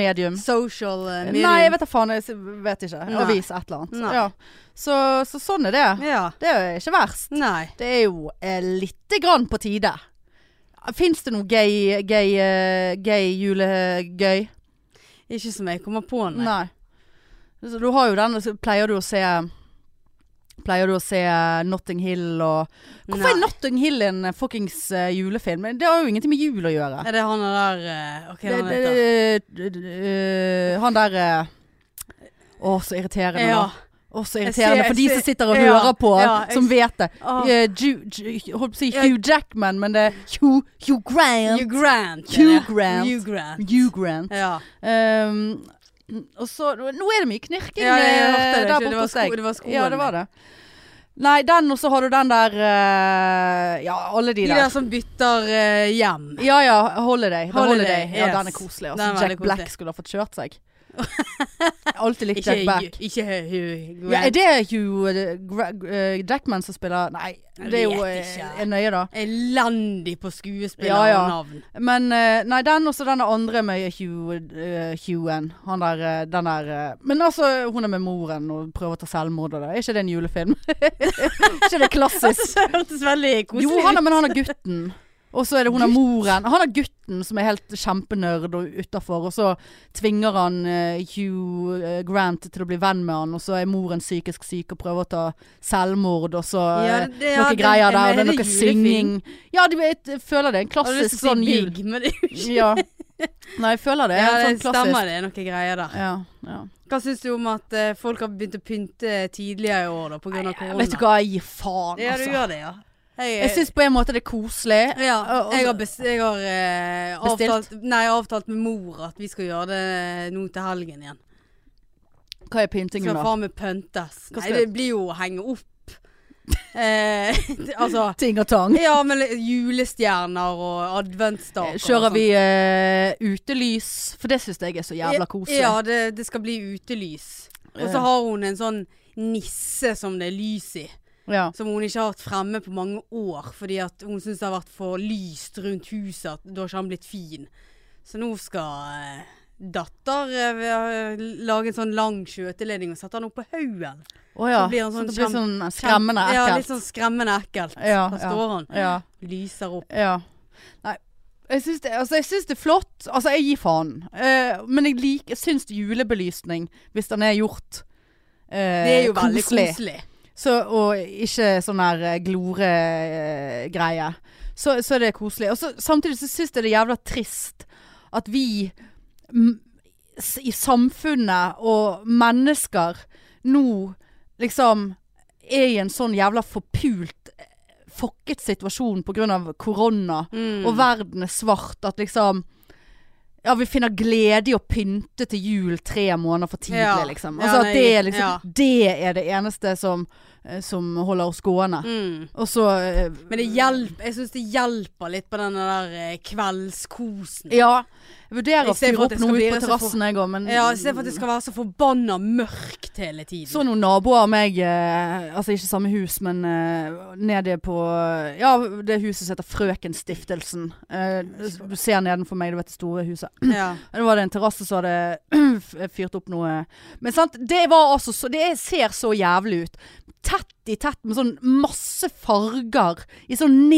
A: medium.
C: Social eh, medium.
A: Nei, jeg vet da faen. Jeg s- vet ikke.
C: Nei.
A: Avis, et eller annet.
C: Nei.
A: Ja. Så, så sånn er det.
C: Ja.
A: Det er jo ikke verst.
C: Nei.
A: Det er jo eh, lite grann på tide. Fins det noe gay, gay, eh, gay julegøy?
C: Ikke som jeg kommer på, nei.
A: Nei. Så du har jo den, og så pleier du å se Pleier du å se eh, Notting Hill og Hvorfor
C: Nei.
A: er Notting Hill en eh, fuckings eh, julefilm? Det har jo ingenting med jul å gjøre.
C: Er det han der eh, Ok,
A: Det,
C: han
A: det,
C: heter
A: det- det- det- han der eh, Å, så irriterende.
C: Ja.
A: nå. Å, så
C: Jeg ser-
A: irriterende for de
C: jeg
A: som
C: ser-
A: sitter og
C: ja,
A: hører på,
C: ja, jeg
A: som vet det.
C: Åh.
A: Eh, Ju- Ju- holdt på å si Hugh Jackman, men det er Hugh, Hugh Grant.
C: Hugh Grant. er
A: Hugh
C: det.
A: Grant.
C: Hugh Grant.
A: Hugh Grant.
C: Ja.
A: Ehm, og så Nå er det mye knirking
C: Ja, jeg
A: eh,
C: hørte det
A: der
C: ikke. Det
A: borte
C: var
A: hos deg.
C: sko- det var skoene.
A: Ja, det var det. Nei, den, og så har du den der eh, Ja, alle de,
C: De
A: der.
C: der som bytter eh, hjem.
A: Ja ja, Holiday. The
C: Holiday,
A: Holiday. Ja,
C: yes.
A: den er koselig. Altså,
C: Den er veldig
A: Jack Black
C: koselig.
A: skulle ha fått kjørt seg. Jeg har Alltid likt
C: Ikke,
A: Jack Black.
C: Hugh- ikke Hugh Grant.
A: Ja, er det Hugh eh, Gra- eh, Jackman som spiller Nei,
C: Jeg
A: det er jo
C: vet
A: eh,
C: ikke.
A: er nøye, da.
C: Elendig på skuespiller
A: Ja, ja.
C: og navn.
A: Men eh, nei, den og så den andre med Hugh, eh, Hughen. Han der, eh, den der eh, Men altså, hun er med moren og prøver å ta selvmord og det. Er ikke det en julefilm? ikke det klassisk?
C: Det hørtes veldig
A: Jo,
C: koselig
A: han
C: ut.
A: er, men han er gutten. Og så er det hun er moren. Han er gutten som er helt kjempenerd og utafor. Og så tvinger han eh, Hugh eh, Grant til å bli venn med han, og så er moren psykisk syk og prøver å ta selvmord, og så eh,
C: Ja, det- ja,
A: noe
C: det-
A: greier der. Og
C: men
A: det er
C: er
A: noe
C: det julefilm?
A: synging. Ja, du vet, jeg føler det. er En
C: liksom. Har du lyst
A: klassisk
C: til å
A: sånn
C: si
A: jul.
C: Big, men det er jo ikke
A: Ja. Nei, jeg føler det.
C: Ja,
A: det
C: det
A: er sånn klassisk.
C: stemmer det er noen greier der.
A: Ja, ja.
C: Hva syns du om at eh, folk har begynt å pynte tidligere i år da, pga. korona?
A: Vet du hva, jeg gir faen,
C: Ja, du
A: altså.
C: gjør det, ja. Jeg, eh,
A: Jeg syns på en måte det er koselig.
C: ja,
A: og-
C: jeg har, bes- jeg har eh,
A: Bestilt?
C: avtalt, nei, jeg har avtalt med mor at vi skal gjøre det eh, nå til helgen igjen.
A: Hva er pyntingen,
C: Skal
A: da?
C: faen meg pyntes.
A: Hva
C: Nei,
A: skal-
C: det blir jo å henge opp. Eh, altså
A: Ting og tang.
C: Ja, men julestjerner og adventsstaker. og
A: Kjører
C: sånt.
A: vi eh, utelys? For det syns jeg er så jævla koselig.
C: Ja, det, det skal bli utelys. Og så
A: Ja.
C: har hun en sånn nisse som det er lys i.
A: Ja.
C: Som hun ikke har hatt fremme på mange år, fordi at hun syns det har vært for lyst rundt huset. At da har ikke han blitt fin. Så nå skal eh, datter eh, vi har, eh, lage en sånn lang skjøteledning og sette han opp på haugen.
A: Å ja.
C: Så blir han
A: Så
C: sånn
A: det blir
C: kjem-
A: sånn skremmende
C: Ja, litt
A: ekkelt.
C: sånn skremmende ekkelt.
A: Ja,
C: Der
A: ja.
C: står han.
A: Ja.
C: Lyser opp.
A: ja. Nei. Jeg syns det, altså, jeg syns det er flott. Altså, jeg gir faen. Eh, men jeg, lik, jeg syns julebelysning, hvis den er gjort eh,
C: Det er jo veldig koselig.
A: Så, og ikke sånn her eh, glore-greie. Så, så er det koselig. Og så, samtidig så syns jeg det er jævla trist at vi mm, s- i samfunnet og mennesker nå liksom er i en sånn jævla forpult, eh, fokket situasjon pga. korona.
C: Mm.
A: Og verden er svart. At liksom Ja, vi finner glede i å pynte til jul tre måneder for tidlig,
C: Ja.
A: liksom.
C: Ja,
A: Altså at
C: nei,
A: det er liksom
C: ja.
A: Det er det eneste som, eh, som holder oss gående.
C: Mm.
A: Og så eh,
C: Men det hjelper, jeg syns det hjelper litt på den der eh, kveldskosen.
A: Ja. Jeg vurderer
C: I
A: å
C: stedet for
A: fyre opp
C: at det
A: noe
C: skal
A: ute
C: bli
A: på
C: så
A: terrassen, jeg òg, men
C: Ja, I stedet for at det skal være så forbanna mørkt hele tiden.
A: Så noen naboer av meg, eh, altså ikke samme hus, men eh, nede på Ja, det huset som heter Frøkenstiftelsen. Eh, du ser nedenfor meg, du vet det store huset.
C: Ja.
A: Det var det en terrasse som hadde fyrt opp noe Men sant, det var altså så Det ser så jævlig ut. Tett i tett med sånn masse farger. I sånn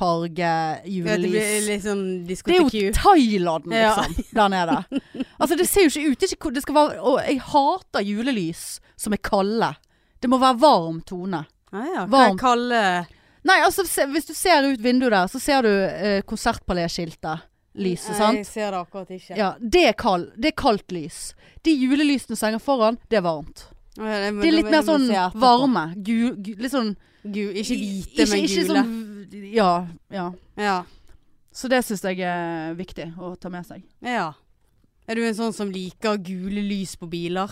C: Ja, Det blir
A: neonfarge-julelys.
C: litt sånn
A: Det er
C: diskotek
A: jo Thailand,
C: Ja.
A: liksom. Der nede. Altså, det ser jo ikke ut. Det, er ikke, ko- det skal være Og jeg hater julelys som er kalde. Det må være varm tone.
C: Ja, ja. Hva
A: Varmt.
C: jeg kaller
A: Nei, altså, se, hvis du ser ut vinduet der, så ser du eh, konsertpaléskiltet. Lyset,
C: Nei,
A: sant?
C: Jeg ser det akkurat ikke.
A: Ja, det er, kald, det er kaldt lys. De julelysene som henger foran, det er varmt.
C: Å, ja, det,
A: Det er litt mer sånn
C: varme
A: varme. Gu, gu, litt sånn
C: Ikke hvite, men
A: ikke-
C: gule.
A: ikke sånn- ja, ja.
C: ja.
A: Så det syns jeg er viktig å ta med seg.
C: ja. Er du en sånn som liker gule lys på biler?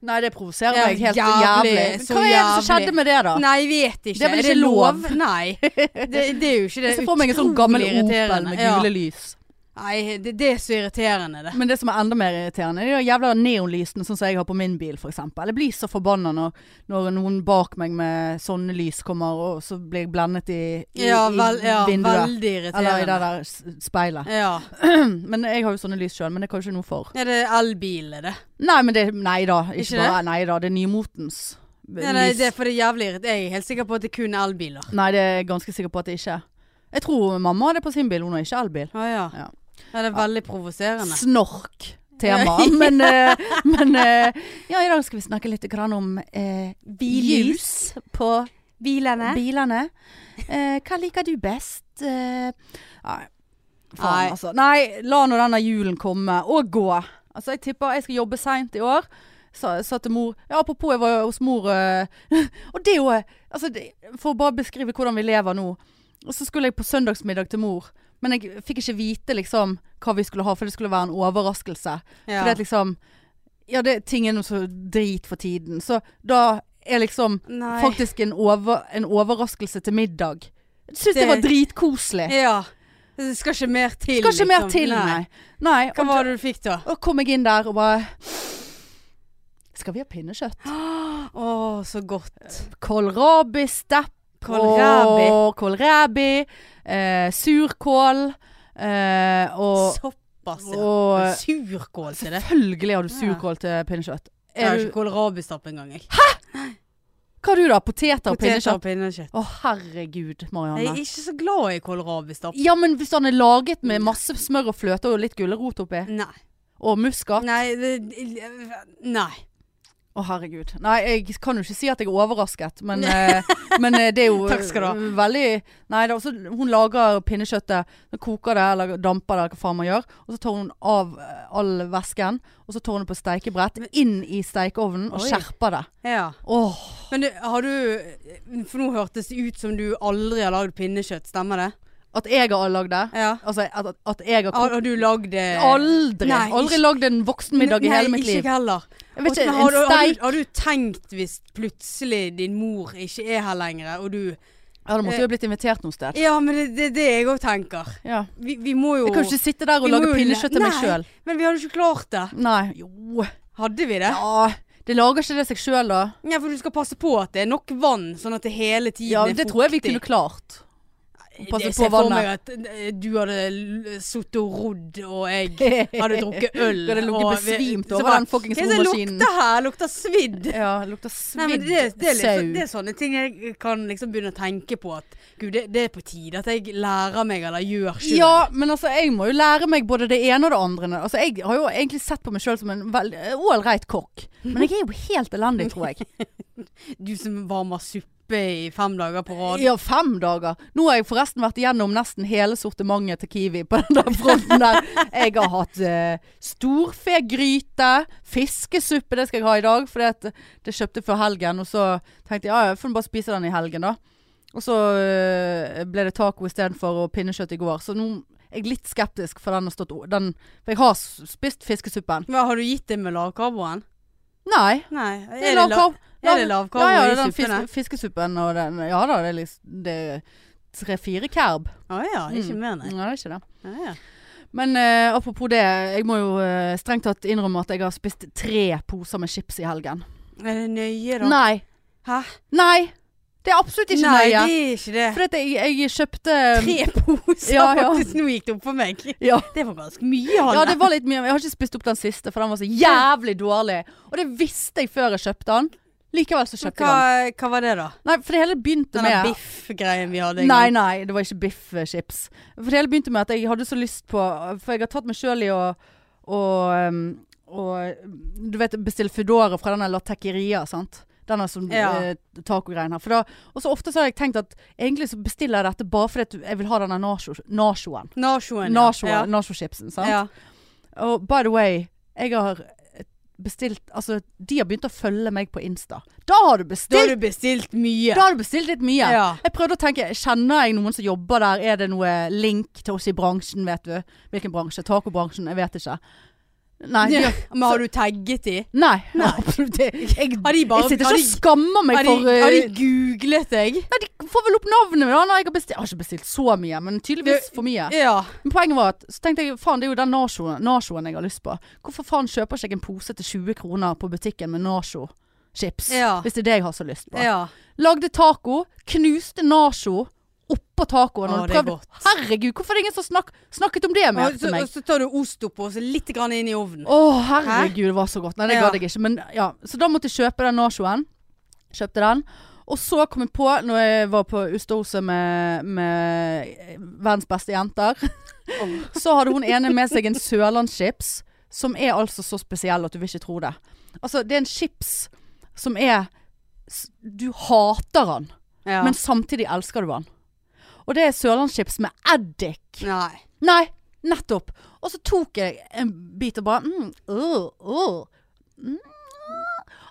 A: Nei, det provoserer
C: Ja,
A: meg helt
C: jævlig,
A: jævlig.
C: så
A: Hva er det som
C: jævlig.
A: skjedde med det, da?
C: Nei, jeg vet ikke.
A: Det er vel ikke lov?
C: Nei. Det, det er jo ikke det.
A: jeg ser for meg en sånn gammel
C: Utrolig
A: Opel
C: irriterende.
A: med
C: Ja.
A: gule lys.
C: Nei, det, det er så irriterende, det.
A: Men det som er enda mer irriterende, det er de jævla neonlysene sånn som jeg har på min bil, f.eks. Jeg blir så forbanna når, når noen bak meg med sånne lys kommer, og så blir jeg blendet i, i,
C: Ja, vel, ja
A: i vinduet. Eller i
C: veldig
A: det
C: irriterende.
A: der s- speilet. Mm,
C: Ja.
A: Men jeg har jo sånne lys sjøl, men det kan jo ikke noe for.
C: Er det elbil, er det?
A: Nei, men det Nei da. Ikke,
C: Ikke
A: bare Nei da. Det er nymotens b-
C: Ja, nei,
A: lys.
C: det er for det er jævlig irriterende. Jeg er helt sikker på at det kun er elbiler.
A: Nei, det er jeg ganske sikker på at det ikke er. Jeg tror mamma hadde på sin bil. Hun har ikke elbil.
C: Å ja.
A: Ja.
C: ja. Det er veldig provoserende.
A: Snork tema, men, eh, men eh, ja, i dag skal vi snakke litt grann om eh,
C: Billys.
A: lys på
C: Bilene.
A: bilene. Eh, hva liker du best? Eh, nei, faen
C: Nei.
A: altså. Nei, la nå denne julen komme, og gå. Altså, jeg tipper jeg skal jobbe seint i år. Sa, sa til mor ja, Apropos, jeg var hos mor eh, Og det er jo eh, altså, det, For å bare beskrive hvordan vi lever nå. Og så skulle jeg på søndagsmiddag til mor, men jeg fikk ikke vite liksom hva vi skulle ha, for det skulle være en overraskelse.
C: Ja.
A: Fordi at liksom Ja, det, ting er nå så drit for tiden. Så da er liksom
C: Nei.
A: faktisk en, over, en overraskelse til middag. Jeg syns det,
C: Det-
A: var dritkoselig.
C: Ja. Det skal ikke mer til.
A: Skal ikke mer
C: liksom.
A: til, nei. nei.
C: Hva
A: og,
C: var det du fikk da?
A: og kom jeg inn der og bare Skal vi ha pinnekjøtt?
C: Å, så godt.
A: Kålrabi, stepp
C: Kålrabi.
A: og kålrabi. Eh, surkål. Eh, og,
C: Såpass, ja.
A: og
C: Men Surkål til det.
A: Selvfølgelig har du surkål til pinnekjøtt.
C: Jeg har
A: Er
C: ikke
A: du,
C: kålrabistapp engang, jeg.
A: hva har du da? Poteter og
C: Poteter og
A: pinnekjøtt?
C: pinnekjøtt.
A: Å, herregud,
C: Jeg er
A: Marianne.
C: ikke så glad i kålrabistapp.
A: Ja, men hvis han er laget med masse smør og fløte og litt gulrot oppi,
C: Nei.
A: og muskat
C: Nei, det, nei.
A: Å, herregud. Nei, jeg kan jo ikke si at jeg er overrasket, men, eh, men eh, det er jo
C: Takk skal du ha.
A: veldig Nei, det er også, hun lager pinnekjøttet, så koker det eller damper det, eller hva faen man gjør. Og så tar hun av eh, all væsken, og så tar hun det på steikebrett, inn i steikeovnen og
C: Oi.
A: skjerper det.
C: Ja.
A: Åh,
C: Men du, har du For nå hørtes det ut som du aldri har lagd pinnekjøtt, stemmer det?
A: at jeg har lagd det?
C: Ja.
A: Altså, at, at- at jeg har kokt
C: Har, har du lagd det?
A: Aldri!
C: Nei,
A: aldri
C: ikke-
A: lagd en voksenmiddag i hele mitt
C: Nei,
A: liv.
C: ikke jeg heller.
A: Jeg vet
C: Og-
A: ikke, en
C: men har, du- har, du,
A: steik
C: har du tenkt hvis plutselig din mor ikke er her lenger, og du
A: Ja, da måtte jeg jo blitt invitert noe sted.
C: Ja, men det det er det, jeg òg tenker.
A: Ja.
C: Vi, vi må jo
A: Jeg kan jo ikke sitte der og
C: Vi må
A: lage
C: jo le-
A: pinnekjøtt til meg
C: Nei.
A: sjøl.
C: Men vi hadde jo ikke klart det.
A: Nei. Jo.
C: Hadde vi det? Ja.
A: Ja, det lager ikke det seg sjøl, da.
C: for du skal passe på at det er nok vann, sånn at det hele tiden
A: Ja,
C: er
A: det
C: fuktig.
A: tror jeg vi kunne klart. Passe
C: Det
A: på
C: ser for
A: vannet.
C: meg at eh, du hadde l- sittet og rodd, og jeg hadde drukket øl.
A: Du hadde ligget
C: og vi-
A: besvimt
C: så
A: over
C: bare,
A: den fuckings
C: Hva er det som
A: romaskinen.
C: lukter her? Lukter svidd.
A: Ja, det lukter
C: Nei, men
A: svidd
C: det, det, er liksom, det
A: sau.
C: er sånne ting jeg kan liksom begynne å tenke på at Gud, det, det er på tide at jeg lærer meg eller gjør sjøl.
A: Ja, men altså, jeg må jo lære meg både det ene og det andre. Altså, jeg har jo egentlig sett på meg sjøl som en vel- ålreit kokk, men jeg er jo helt elendig, tror jeg.
C: Du som varmer suppe i fem dager på rad.
A: Ja, fem dager. Nå har jeg forresten vært igjennom nesten hele sortimentet til Kiwi på den der fronten der. Jeg har hatt eh, storfegryte, fiskesuppe, det skal jeg ha i dag, for det, det kjøpte jeg før helgen. Og så tenkte jeg ja, jeg får bare spise den i helgen, da. Og så eh, ble det taco istedenfor og pinnekjøtt i går. Så nå er jeg litt skeptisk, for den har stått o- den, For jeg har s- spist fiskesuppen.
C: Men har du gitt det med lavkarboen?
A: Nei.
C: Nei. Er
A: Det
C: det,
A: er
C: la-
A: lavkarbo.
C: er det lavkarbo
A: ja, ja,
C: i
A: den
C: suppene?
A: fiske, fiskesuppen og den Ja da, det er liksom Det er tre-fire kerb.
C: Å ja,
A: Mm.
C: ikke mer, nei.
A: Nei, det er ikke det.
C: Ja, ja.
A: Men eh, apropos det, jeg må jo eh, strengt tatt innrømme at jeg har spist tre poser med chips i helgen.
C: Er det nøye, da?
A: Nei.
C: Hæ?
A: Nei! Det er absolutt ikke
C: nei,
A: nøye.
C: det er ikke det.
A: For at jeg, jeg kjøpte eh,
C: Tre poser,
A: Ja, ja.
C: faktisk. Nå gikk det opp for meg.
A: Ja.
C: Det var ganske mye, Hanne.
A: ja, det var litt mye. men Jeg har ikke spist opp den siste, for den var så jævlig dårlig. Og det visste jeg før jeg kjøpte den. Likevel så kjøpte
C: hva,
A: jeg den.
C: hva var det, da?
A: Nei, for det hele begynte
C: Den
A: med
C: biff-greien vi hadde? en
A: Nei,
C: gang.
A: nei, det var ikke biff-chips. For det hele begynte med at jeg hadde så lyst på For jeg har tatt meg sjøl i å å, um, å, du vet, bestille Foodora fra denne La Taqueria, sant. Denne som
C: Ja.
A: eh, tacogreien her. For da, og så ofte så har jeg tenkt at egentlig så bestiller jeg dette bare fordi at jeg vil ha denne nacho- nachoen.
C: Nachoen. ja.
A: Nacho,
C: Ja.
A: Nacho-chipsen, sant.
C: Ja.
A: Og by the way, jeg har bestilt Altså, de har begynt å følge meg på Insta. Da har du
C: Da har
A: bestilt!
C: du bestilt mye.
A: Da har du bestilt litt mye.
C: ja.
A: Jeg prøvde å tenke, kjenner jeg noen som jobber der? Er det noe link til oss i bransjen, vet du? Hvilken bransje? Tacobransjen? Jeg vet ikke. Nei. de-
C: Men har du tagget de?
A: Nei, absolutt ikke. Jeg,
C: Har de bare
A: jeg sitter
C: har
A: ikke og
C: de,
A: skammer meg
C: har de,
A: for eh,
C: har de googlet deg?
A: Nei, de får vel opp navnet mitt. da, når Jeg, har bestilt- jeg har ikke bestilt så mye, men tydeligvis for mye.
C: Ja.
A: Men poenget var at så tenkte jeg, faen, det er jo den nachoen nachoen jeg har lyst på. Hvorfor faen kjøper ikke jeg en pose til 20 kroner på butikken med nacho-chips?
C: Ja.
A: Hvis det er det jeg har så lyst på.
C: ja.
A: Lagde taco, knuste nacho oppå tacoen.
C: Å,
A: og
C: det er
A: prøvde-
C: godt.
A: Herregud, hvorfor er det ingen som snak snakket om det mer
C: Og
A: til
C: så, og
A: meg?
C: så tar du ost oppå og så litt grann inn i ovnen.
A: Å, herregud, det var så godt. Nei, det
C: Ja.
A: gadd jeg ikke. Men, ja. Så da måtte jeg kjøpe den nachoen. Kjøpte den. Og så kom jeg på, når jeg var på Ustahuset med, med verdens beste jenter, så hadde hun ene med seg en sørlandschips som er altså så spesiell at du vil ikke tro det. Altså, det er en chips som er s- Du hater den,
C: Ja.
A: men samtidig elsker du den. Og det er sørlandschips med eddik.
C: Nei.
A: Nei, nettopp. Og så tok jeg en bit og bare mm, øh, øh. Mm.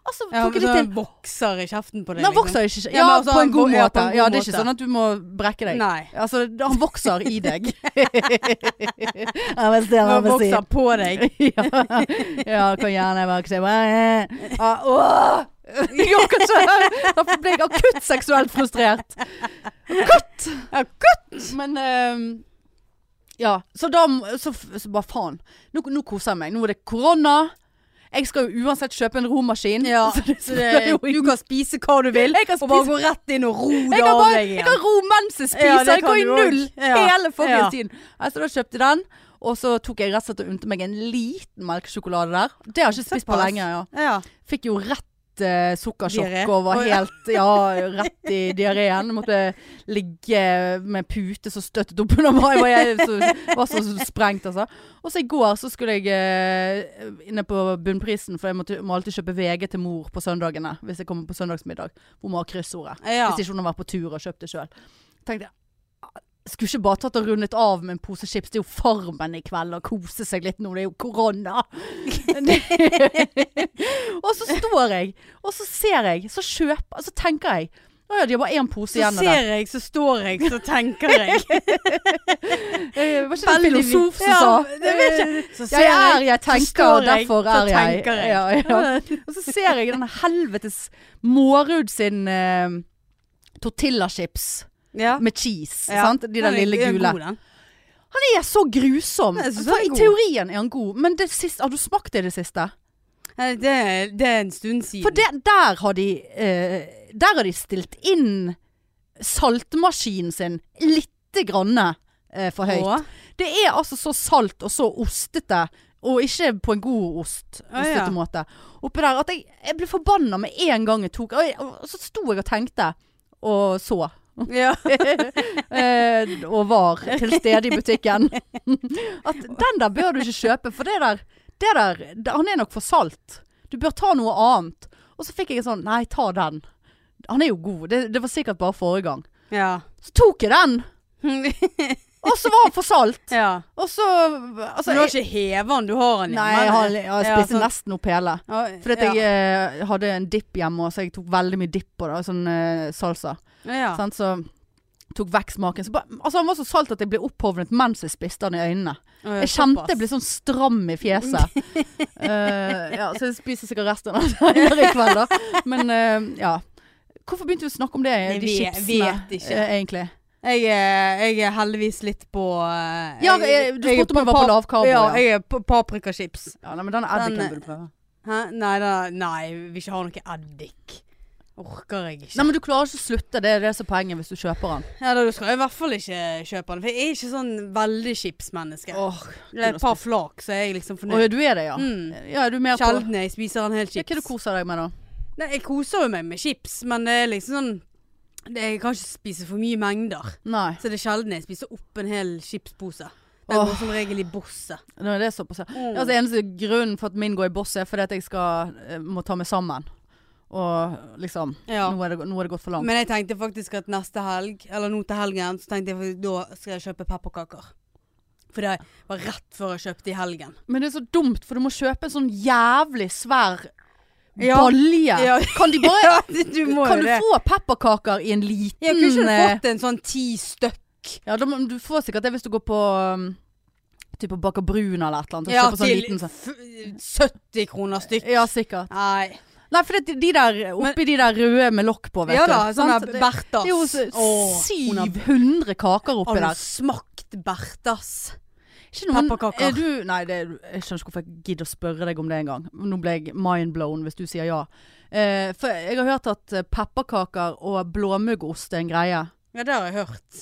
A: Og så
C: Ja,
A: tok jeg
C: så
A: litt til.
C: den vokser i kjeften på deg.
A: Den vokser ikke
C: Ja,
A: Ja,
C: men altså,
A: på
C: han
A: en god
C: vo- ja, på
A: måte.
C: en god
A: Ja, det er ikke
C: måte.
A: sånn at du må brekke deg.
C: Nei.
A: Altså, han vokser i deg.
C: Den vokser på deg.
A: ja. ja, kan gjerne vokse ah, åh! Jeg orker ikke! Da ble jeg akutt seksuelt frustrert. Akutt! Akutt! Men ehm, Ja. Så da m- så, f- så bare faen. Nå, nå koser jeg meg. Nå er det korona. Jeg skal jo uansett kjøpe en romaskin.
C: Ja,
A: Så det,
C: så det, du kan spise hva du vil,
A: Jeg kan
C: og bare
A: spise-
C: gå rett inn og ro
A: jeg
C: deg
A: kan,
C: av
A: bare,
C: deg
A: jeg
C: igjen.
A: kan ro mens jeg spiser.
C: Ja, det
A: jeg
C: kan
A: går i
C: du også.
A: null
C: Ja.
A: hele fuckings
C: Ja.
A: tiden. Nei, Så da kjøpte jeg den. Og så tok jeg rett og slett og unte meg en liten melkesjokolade der. Det har jeg ikke spist på
C: Såpass.
A: lenge. ja
C: Ja.
A: Fikk jo rett eh, sukkersjokk
C: Diaré.
A: og var
C: Å, ja.
A: helt Ja, rett i diareen. Måtte ligge med pute som støttet opp under meg. Var jeg så, var så sprengt, altså. Og så i går så skulle jeg eh, inne på Bunnprisen, for jeg måtte, må alltid kjøpe VG til mor på søndagene hvis jeg kommer på søndagsmiddag. Hun må ha kryssordet.
C: Ja.
A: Hvis ikke hun har vært på tur og kjøpt det sjøl. Tenkte jeg "Ah, skulle ikke bare tatt og rundet av med en pose chips. Det er jo Farmen i kveld, og kose seg litt nå. Det er jo korona. og så står jeg, og så ser jeg, så kjøper Så tenker jeg Å ja, de har bare én pose
C: Så
A: igjen av det.
C: ser jeg, så står jeg, så tenker jeg.
A: Eh, Var ikke det en filosof som
C: Ja,
A: sa Eh,
C: det vet jeg. Så ser
A: Jeg er, jeg
C: så
A: tenker,
C: står
A: og derfor
C: så
A: er jeg.
C: tenker jeg.
A: Ja, ja. Og så ser jeg denne helvetes Mårud sin eh, tortillachips
C: Ja.
A: med cheese.
C: Ja.
A: Sant? De der
C: Den er-
A: lille
C: den er
A: gule.
C: god, den.
A: Han er så grusom.
C: Jeg synes
A: For
C: han er
A: I
C: god.
A: teorien er han god, men det siste, har du smakt det i det siste?
C: Nei, Det, er- det er en stund siden.
A: For det, der har de eh, Der har de stilt inn saltmaskinen sin lite grann eh, for høyt.
C: Å,
A: Det er altså så salt og så ostete, og ikke på en god ost,
C: Ah,
A: ostete
C: ja.
A: måte, oppi der at jeg, jeg ble forbanna med en gang jeg tok Og, jeg, og så sto jeg og tenkte, og så.
C: Ja.
A: eh, og var til stede i butikken. At den der bør du ikke kjøpe, for det der, det der det, Han er nok for salt. Du bør ta noe annet. Og så fikk jeg en sånn Nei, ta den. Han er jo god. Det, det var sikkert bare forrige gang.
C: Ja.
A: Så tok jeg den, og så var han for salt.
C: ja.
A: Og så altså,
C: Men du har
A: jeg-
C: ikke hevet den, du har den
A: Nei, jeg, har, jeg
C: Ja,
A: spiste
C: sånn.
A: nesten opp hele.
C: Ja,
A: Fordi at jeg eh, hadde en dipp hjemme, så jeg tok veldig mye dipp på det. og Sånn eh, salsa.
C: ja. Ja.
A: Sant? Så tok vekk smaken. Så bare, altså, han var så salt at jeg ble opphovnet mens jeg spiste den i øynene.
C: Å, ja,
A: Jeg kjente
C: såpass.
A: jeg ble sånn stram i fjeset. Eh, ja, så jeg spiser sikkert resten av den i kveld, da. Men eh, ja. Hvorfor begynte vi å snakke om det?
C: Jeg
A: De
C: vet-
A: chipsene,
C: vet ikke.
A: eh, egentlig.
C: Jeg er, jeg er heldigvis litt på eh,
A: Ja, jeg- du
C: jeg er
A: spurte om jeg var på lavkarbo,
C: Ja,
A: ja.
C: jeg er på paprikachips.
A: Ja, nei, men den
C: Den, eh,
A: eddiken burde du prøve.
C: Hæ? Nei, da, nei, vi ikke har noe eddik. Orker jeg ikke.
A: Nei, men du klarer ikke å slutte. Det er det som er poenget hvis du kjøper den.
C: Ja, da, du skal jeg i hvert fall ikke kjøpe den. For jeg er ikke sånn veldig chipsmenneske.
A: Åh,
C: Det er Et par flak, så er jeg liksom
A: Å ja,
C: fornøyd.
A: du er det, ja.
C: Mm.
A: Ja, er du mer på ja,
C: Sjelden jeg spiser en hel
A: Hva er det
C: chips.
A: du koser deg med, da?
C: Nei, jeg koser jo meg med chips, men det er liksom sånn det, Jeg kan ikke spise for mye mengder.
A: Nei.
C: Så det er sjelden jeg spiser opp en hel chipspose. Den går som regel i bosset.
A: Nå er det såpass. ja.
C: Mm.
A: Altså, eneste grunnen for at min går i boss, er fordi at jeg skal, eh, må ta meg sammen. Og liksom
C: Ja.
A: nå, er det, nå er det gått for langt.
C: Men jeg tenkte faktisk at neste helg, eller nå til helgen, så tenkte jeg faktisk, da skal jeg kjøpe pepperkaker. For det var rett før jeg kjøpte i helgen.
A: Men det er så dumt, for du må kjøpe en sånn jævlig svær
C: Ja.
A: balje.
C: Ja.
A: Kan de bare
C: du må
A: Kan
C: jo
A: du
C: det.
A: få pepperkaker i en liten
C: Jeg kunne ikke du
A: eh,
C: fått en sånn ti stykk.
A: Ja, da må, du får sikkert det hvis du går på um, Typ på Baker Brun eller et eller annet. og
C: Ja,
A: kjøper sånn
C: til
A: liten, sånn.
C: f- 70 kroner stykk.
A: Ja, sikkert.
C: Nei.
A: Nei, for det, de der oppi de der røde med lokk på, vet
C: Ja
A: du.
C: da, sånn
A: sant?
C: der
A: Det-
C: Berthas.
A: det er jo så- 700 kaker oppi
C: Har du
A: der.
C: smakt Berthas?
A: Ikke noen,
C: pepperkaker?
A: er du, nei, det, jeg skjønner ikke hvorfor jeg gidder å spørre deg om det engang. Nå ble jeg mindblown hvis du sier ja. Eh, for jeg har hørt at eh, pepperkaker og blåmuggost er en greie.
C: Ja, det har jeg hørt.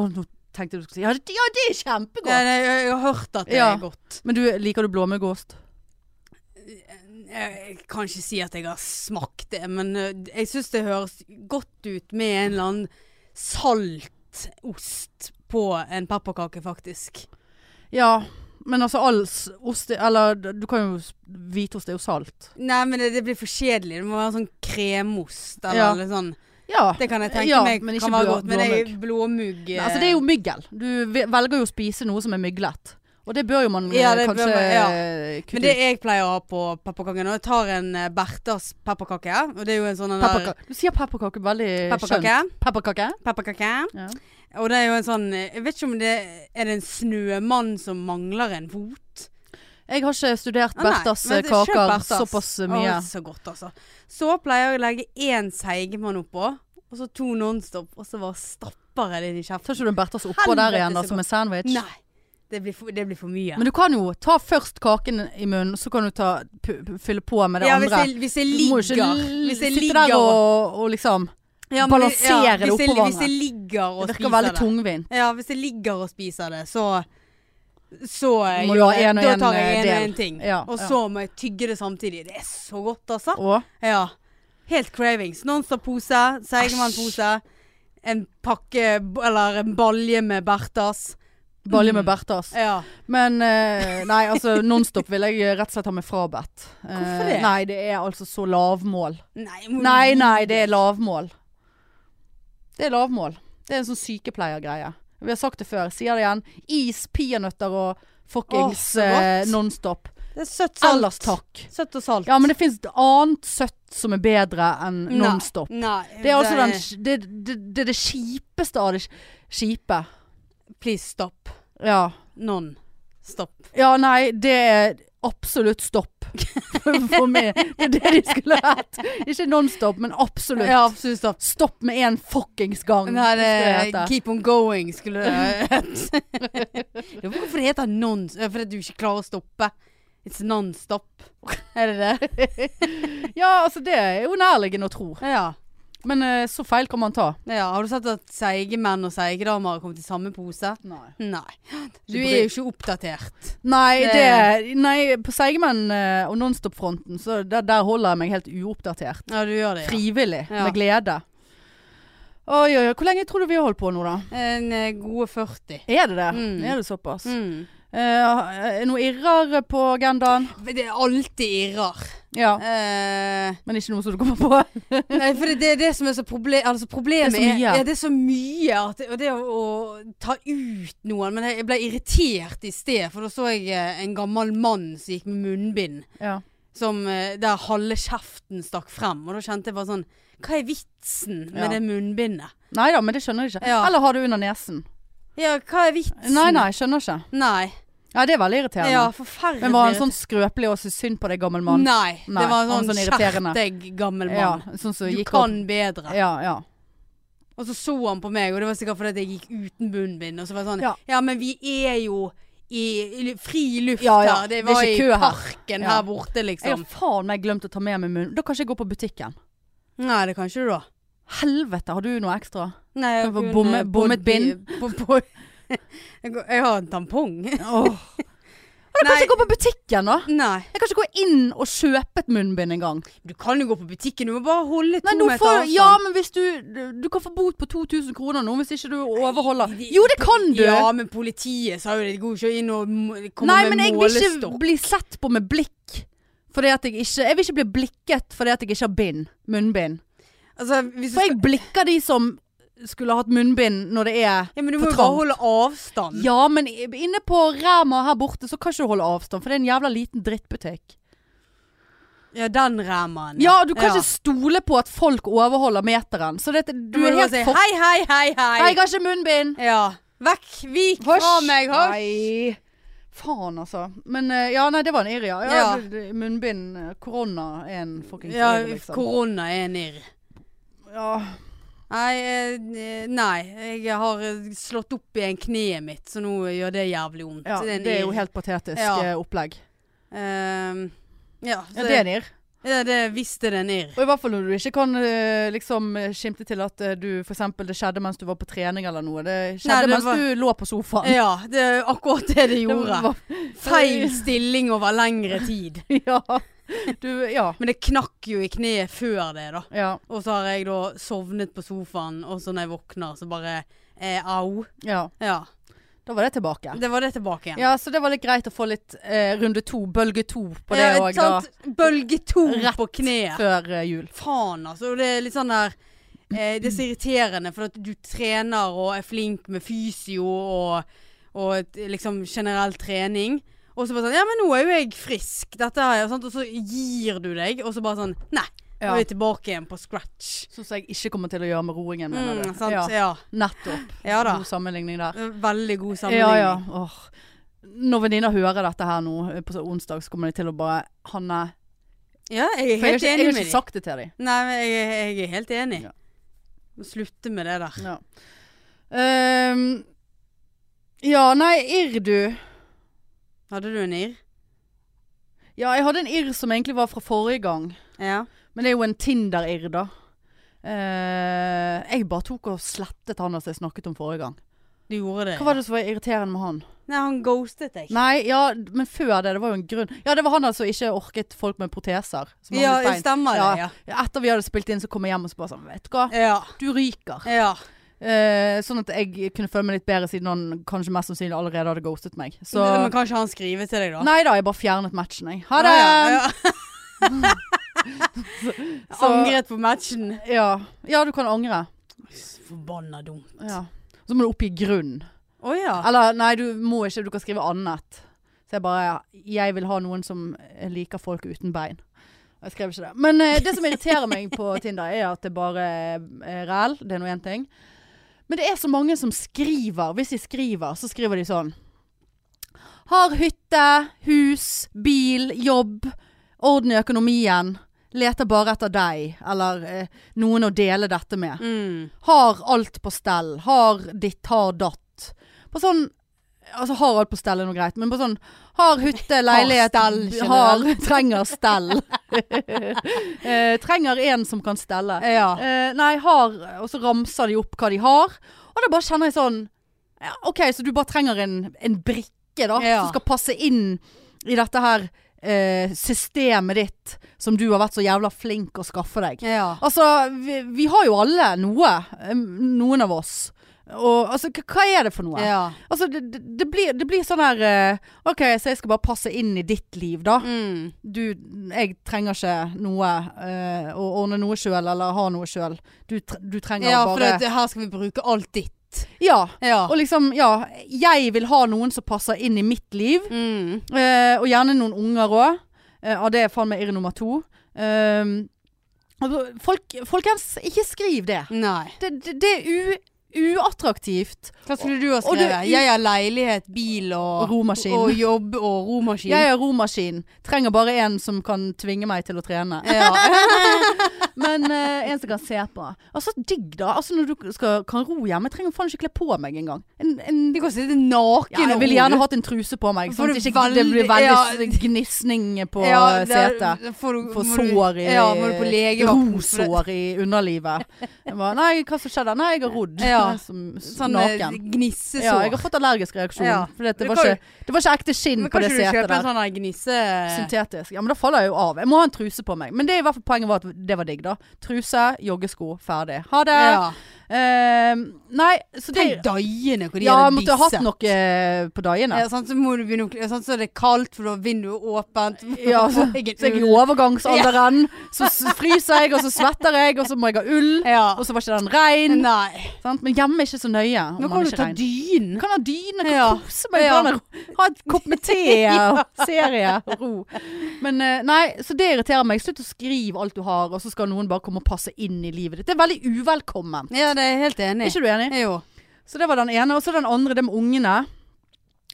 A: Å, nå tenkte jeg du skulle si ja, det, ja, det er kjempegodt!
C: Ja, jeg, jeg har hørt at det
A: Ja.
C: er godt.
A: Men du, liker du blåmuggost?
C: Jeg kan ikke si at jeg har smakt det, men eh, jeg syns det høres godt ut med en eller annen saltost på en pepperkake, faktisk.
A: Ja. Men altså all s- ost Eller du kan jo s- Hvitost er jo salt.
C: Nei, men det, det blir for kjedelig. Det må være sånn kremost eller
A: Ja.
C: litt sånn.
A: Ja.
C: Det kan jeg tenke
A: Ja,
C: meg
A: men ikke
C: kan være
A: blå-
C: godt. Men det er blåmugg.
A: Nei, altså det er jo myggel. Du ve- velger jo å spise noe som er myglet. Og det bør jo man
C: Ja,
A: eh,
C: det bør
A: kanskje
C: man- ja.
A: eh,
C: men
A: kutte
C: det
A: ut.
C: jeg pleier å ha på pepperkaker nå, jeg tar en eh, Berthas pepperkake. Og det er jo en sånn den der-
A: Pepperka- Du sier pepperkake veldig skjønt.
C: pepperkake.
A: Pepperkake?
C: Pepperkake.
A: Ja.
C: Og det er jo en sånn eh, Jeg vet ikke om det er det en snømann som mangler en fot.
A: Jeg har ikke studert
C: Ah, nei,
A: Berthas
C: men
A: eh,
C: det- kjøp
A: kaker
C: Berthas.
A: såpass eh, mye.
C: Å, så godt, altså. Så pleier jeg å legge én seigmann oppå, og så to Nonstop, og så bare stapper jeg det inn i kjeften.
A: Tar ikke du en Berthas oppå der
C: Helvete,
A: igjen da,
C: så
A: som en sandwich?
C: Nei. Det blir for, det blir for mye.
A: Men du kan jo ta først kaken i munnen, så kan du ta, p p fylle på med det
C: ja, hvis
A: andre.
C: jeg, hvis jeg
A: Du må jo
C: ligger
A: ikke l-
C: Hvis jeg
A: sitte der
C: ligger og,
A: og, og liksom
C: ja, men det-
A: balansere det
C: hvis jeg-
A: oppå
C: Hvis jeg ligger og
A: Det
C: spiser det.
A: virker veldig tungvint.
C: Ja, hvis jeg ligger og spiser det, så så
A: Må
C: gjør
A: du ha
C: jeg-
A: en og
C: da
A: en,
C: tar jeg
A: eh,
C: en og
A: del.
C: en ting.
A: Ja,
C: og
A: ja.
C: så må jeg tygge det samtidig. Det er så godt, altså.
A: Og
C: Ja. Helt cravings. Nonstop-pose, Seigermann-pose, en pakke b- eller en balje med Berthas.
A: balje med Berthas.
C: Ja.
A: Men eh, nei, altså Nonstop vil jeg rett og slett ha meg frabedt. Eh,
C: Hvorfor det?
A: Nei, det er altså så lavmål.
C: Nei, må-
A: Nei, nei, det er lavmål. Det er lavmål. Det er en sånn sykepleiergreie. Vi har sagt det før, jeg sier det igjen. Is, peanøtter og fuckings
C: Åh, så godt.
A: eh, Nonstop.
C: Det er søtt salt.
A: Ellers takk.
C: Søtt og salt.
A: Ja, men det fins annet søtt som er bedre enn
C: Nei.
A: Nonstop.
C: Nei.
A: Det er altså den, sk- det, det, det, er det kjipeste av det sk- kjipe.
C: Please stopp.
A: Ja.
C: Non. Stopp.
A: Ja, nei, det er absolutt stopp for meg. Det er det de skulle hatt. Ikke nonstop, men absolutt.
C: Ja, absolutt stopp.
A: Stopp eh, med en fuckings gang.
C: Nei, det
A: skulle det hete.
C: Keep on going, skulle det hett. Ja, Hvorfor det heter non... eh, Fordi du ikke klarer å stoppe. It's non-stop. Er det det?
A: Ja, altså det er jo nærliggende å tro.
C: Ja.
A: Men eh, så feil kan man ta.
C: ja. Har du sett at seige menn og seige damer har kommet i samme pose?
A: Nei,
C: Nei. Du er jo ikke oppdatert.
A: det, nei på Seigemenn eh, og Nonstop-fronten, så der, der holder jeg meg helt uoppdatert.
C: Ja, du gjør det. Ja.
A: Frivillig,
C: Ja.
A: med glede. Oi, oi, oi. Hvor lenge tror du vi har holdt på nå, da?
C: En eh, gode 40.
A: Er det det?
C: Mm.
A: Er det såpass?
C: Mm.
A: Eh, er noe irrer på agendaen?
C: Det er alltid irrer.
A: Ja.
C: Eh,
A: Men ikke noe som du kommer på.
C: Nei, for det, det er det som er så proble altså problemet
A: Det er så mye.
C: Er, ja, det er så mye at det, Og det å, å ta ut noen Men jeg, jeg ble irritert i sted For da så jeg eh, en gammel mann som gikk med munnbind
A: Ja.
C: som, eh, Der halve kjeften stakk frem Og da kjente jeg bare sånn Hva er vitsen med
A: Ja.
C: det munnbindet?
A: Nei da, men det skjønner jeg ikke.
C: Ja.
A: Eller har du under nesen?
C: Ja, hva er vitsen?
A: Nei, nei, skjønner ikke.
C: Nei.
A: Ja, det er veldig irriterende.
C: Ja, forferdelig
A: Men var han sånn skrøpelig og syntes synd på deg, gammel mann?
C: Nei,
A: Nei,
C: det var en
A: han
C: sånn,
A: sånn irriterende.
C: skjerp deg gammel
A: Ja,
C: mann
A: sånn som
C: Du
A: gikk
C: kan
A: opp.
C: bedre
A: Ja, ja.
C: Og så så han på meg, og det var sikkert fordi at jeg gikk uten bunnbind. Og så var det sånn
A: Ja.
C: Ja, men vi er jo i, i fri luft
A: Ja, ja,
C: her. Det
A: det er
C: var
A: ikke
C: i
A: kø her.
C: parken
A: Ja.
C: her borte,
A: Jeg har
C: liksom.
A: faen meg glemt å ta med meg munn. Da kan ikke jeg gå på butikken.
C: Nei, det kan ikke du, da.
A: Helvete, har du noe ekstra?
C: Nei, jeg
A: Du får
C: kunne
A: bomme-
C: bodd
A: bommet
C: i-
A: bind.
C: på- på- Jeg går- jeg har en tampong.
A: Åh. Jeg kan
C: Nei.
A: ikke gå på butikken, da!
C: Nei.
A: Jeg kan ikke gå inn og kjøpe et munnbind engang.
C: Du kan jo gå på butikken, du må bare holde to
A: Nei, nå
C: meter
A: får
C: avstand.
A: Ja, men hvis du Du kan få bot på 2000 kroner nå hvis ikke du overholder
C: de-
A: Jo, det kan du!
C: Ja, men politiet sa jo det. De går jo ikke inn og må- kommer
A: Nei, men
C: med
A: jeg vil ikke
C: målestokk.
A: bli sett på med blikk. Fordi at jeg ikke Jeg vil ikke bli blikket fordi at jeg ikke har bind. Munnbind.
C: Altså, hvis du
A: For
C: skal
A: jeg blikker de som skulle hatt munnbind når det er
C: Ja, men du
A: for
C: må jo bare
A: trangt.
C: holde avstand.
A: Ja, men i- inne på Ræma her borte så kan ikke du holde avstand, for det er en jævla liten drittbutikk.
C: Ja, den remmen.
A: Ja, du kan ikke stole på at folk overholder meteren. Så det, du er helt for...
C: Hei, hei, hei,
A: Nei, jeg har ikke munnbind!
C: Ja. Vekk, vik fra meg, hysj!
A: Nei. Faen, altså. Men eh, ja, nei, det var en irr, ja. ja.
C: Ja.
A: det- det- Munnbind, eh, korona er en fuckings
C: Ja,
A: irr, liksom.
C: korona er en irr.
A: Ja.
C: Nei, eh, nei, jeg har eh, slått opp i en kneet mitt, så nå gjør det jævlig vondt.
A: Ja, det
C: en
A: er, jo
C: irr.
A: helt patetisk
C: Ja.
A: eh, opplegg.
C: Ehm, ja, så,
A: Ja, det er en irr.
C: ja, det visste det er en irr.
A: Og i hvert fall når du ikke kan eh, liksom eh, skimte til at eh, du for eksempel det skjedde mens du var på trening eller noe. Det skjedde
C: Nei, det
A: mens
C: var-
A: du lå på sofaen.
C: Ja, det er akkurat det det
A: Det
C: gjorde.
A: var-
C: Feil stilling over lengre tid.
A: Ja. Du, ja.
C: Men det knakk jo i kneet før det, da.
A: Ja.
C: Og så har jeg da sovnet på sofaen, og så når jeg våkner, så bare eh, au.
A: ja.
C: Ja.
A: Da var det tilbake.
C: Det var det tilbake igjen.
A: Ja, så det var litt greit å få litt eh, runde to, bølge to på det
C: Ja,
A: òg, da.
C: Eh, sant? Bølge to
A: Rett
C: på kneet.
A: Før eh, jul.
C: Faen, altså. Og det er litt sånn der eh, Det er så irriterende, for at du trener og er flink med fysio og, og et- liksom generell trening. Og så bare sånn Ja, men nå er jo jeg frisk. Dette har jeg sant? Og så gir du deg, og så bare sånn Nei. Nå
A: Ja.
C: er vi tilbake igjen på scratch.
A: Sånn som jeg ikke kommer til å gjøre med roingen, mener
C: Mm,
A: du.
C: sant?
A: Ja,
C: Ja.
A: nettopp.
C: ja da.
A: God sammenligning der.
C: Veldig god
A: Ja,
C: sammenligning.
A: ja. Åh. Når venninner hører dette her nå eh, på så- onsdag, så kommer de til å bare Hanne
C: Ja, jeg er
A: For jeg har
C: helt
A: ikke, jeg
C: enig
A: har
C: med
A: ikke
C: dem.
A: sagt det til dem.
C: Nei, men jeg, er- jeg er helt enig.
A: Ja.
C: Må Slutte med det der.
A: Ja. Ehm, ja, nei, irr du.
C: Hadde du en irr?
A: Ja, jeg hadde en irr som egentlig var fra forrige gang.
C: Ja.
A: Men det er jo en Tinder-irr, da. Eh, jeg bare tok og slettet han som jeg snakket om forrige gang.
C: Du gjorde det.
A: Hva var det som var irriterende med han?
C: Nei, han ghostet deg.
A: Nei, ja, men før det. Det var jo en grunn. Ja, det var han altså ikke orket folk med proteser. som
C: ja,
A: manglet bein.
C: stemmer det. Ja.
A: Etter vi hadde spilt inn, så kom jeg hjem og så bare sånn Vet du hva,
C: Ja.
A: du ryker.
C: ja.
A: Eh, sånn at jeg kunne føle meg litt bedre, siden han kanskje mest sannsynlig allerede hadde ghostet meg. Så
C: Men kan ikke han skrive til deg, da?
A: Nei da, jeg bare fjernet matchen, jeg. Ha det!
C: Ja, ja.
A: Så-
C: Angret på matchen.
A: Ja. ja, du kan angre.
C: Forbanna dum.
A: Ja. Så må du oppgi grunn.
C: Å ja.
A: Eller nei, du må ikke, du kan skrive annet. Så jeg bare Jeg vil ha noen som liker folk uten bein. Og Jeg skrev ikke det. Men eh, det som irriterer meg på Tinder, er at det bare er ræl. Det er nå én ting. Men det er så mange som skriver. Hvis de skriver, så skriver de sånn Har hytte, hus, bil, jobb. Orden i økonomien. Leter bare etter deg. Eller eh, noen å dele dette med.
C: Mm.
A: Har alt på stell. Har ditt, har datt. På sånn Altså har alt på stell er noe greit, men på sånn har hytte, leilighet,
C: stell
A: b-
C: generelt.
A: har, trenger stell. eh, trenger en som kan stelle.
C: Ja.
A: Eh, nei, har Og så ramser de opp hva de har. Og da bare kjenner jeg sånn ja, OK, så du bare trenger en, en brikke, da.
C: Ja.
A: Som skal passe inn i dette her eh, systemet ditt som du har vært så jævla flink å skaffe deg.
C: ja.
A: Altså, vi, vi har jo alle noe. eh, Noen av oss. Og altså, hva- hva er det for noe?
C: ja.
A: Altså, det, det- det, blir, det blir sånn her eh, OK, så jeg skal bare passe inn i ditt liv, da.
C: Mm.
A: Du, jeg trenger ikke noe eh, å ordne noe sjøl, eller ha noe sjøl. Du, tre- du trenger
C: ja, for
A: bare
C: det, her skal vi bruke alt ditt.
A: Ja.
C: Ja.
A: Og liksom, ja. Jeg vil ha noen som passer inn i mitt liv.
C: Mm.
A: Eh, og gjerne noen unger òg. Eh, ja, det er faen meg irr nummer to. Eh, altså, folk, folkens, ikke skriv det.
C: Nei.
A: Det, det, det er u, uattraktivt.
C: Hva skulle du ha
A: Og du-
C: skrevet? jeg har leilighet, bil og,
A: Og romaskin.
C: Og jobb og romaskin.
A: Jeg er romaskin. Trenger bare en som kan tvinge meg til å trene.
C: ja.
A: Men eh, en som kan se på. Altså, digg, da. Altså, når du skal, kan ro hjemme, jeg trenger faen ikke kle på meg engang. En, en,
C: Du kan sitte naken
A: ja, jeg
C: og
A: ville
C: ro, du.
A: gjerne hatt en truse på meg,
C: Får
A: sånn at
C: du
A: ikke det
C: veldig-
A: blir veldig
C: ja.
A: s- gnisning på eh,
C: der
A: setet.
C: Får du,
A: Få
C: må du-
A: sår i
C: Ja, må du på legevakten. for
A: Rosår
C: det-
A: i underlivet. Jeg bare, nei, hva som skjedde? Nei, jeg har rodd.
C: Ja.
A: Som,
C: Sånn
A: naken.
C: eh, gnissesår.
A: Ja, jeg har fått allergisk reaksjon.
C: Ja.
A: For det,
C: Men
A: var
C: kan-
A: ikke, det var ikke ekte skinn
C: Men
A: på
C: kan
A: det
C: ikke du
A: setet
C: kjøpe en
A: der.
C: sånn der gnisse...
A: Syntetisk. Ja, men da faller jeg jo av. Jeg må ha en truse på meg. Men det er i hvert fall poenget var at det var digg, da. Truse, joggesko, ferdig. Ha det!
C: Ja.
A: Eh, nei, så det
C: Tenk daiene hvor de
A: Ja,
C: hadde
A: måtte ha hatt
C: bisset.
A: noe eh, på dagene.
C: Ja, sant, så må du begynne å kle- sant, så er det kaldt, for da er vinduet åpent.
A: Ja, så,
C: Og ingen
A: så jeg er i
C: ull.
A: overgangsalderen. Så s- fryser jeg, og så svetter jeg, og så må jeg ha ull.
C: Ja.
A: Og så var ikke den rein.
C: Nei.
A: Sant? Men hjemme er ikke så nøye. Om
C: Nå
A: man
C: kan du
A: ikke
C: ta
A: regner.
C: dyn.
A: kan ha dyne, kan
C: Ja.
A: kose meg.
C: Ja.
A: Kan ha- ha et kopp med te og serie og ro. Men eh, nei, så det irriterer meg. Slutt å skrive alt du har, og så skal noen bare komme og passe inn i livet ditt. Det er veldig uvelkomment.
C: Ja, det er jeg helt
A: Er
C: enig.
A: ikke du enig?
C: Jo.
A: Så det var den ene. Og så den andre, det med ungene.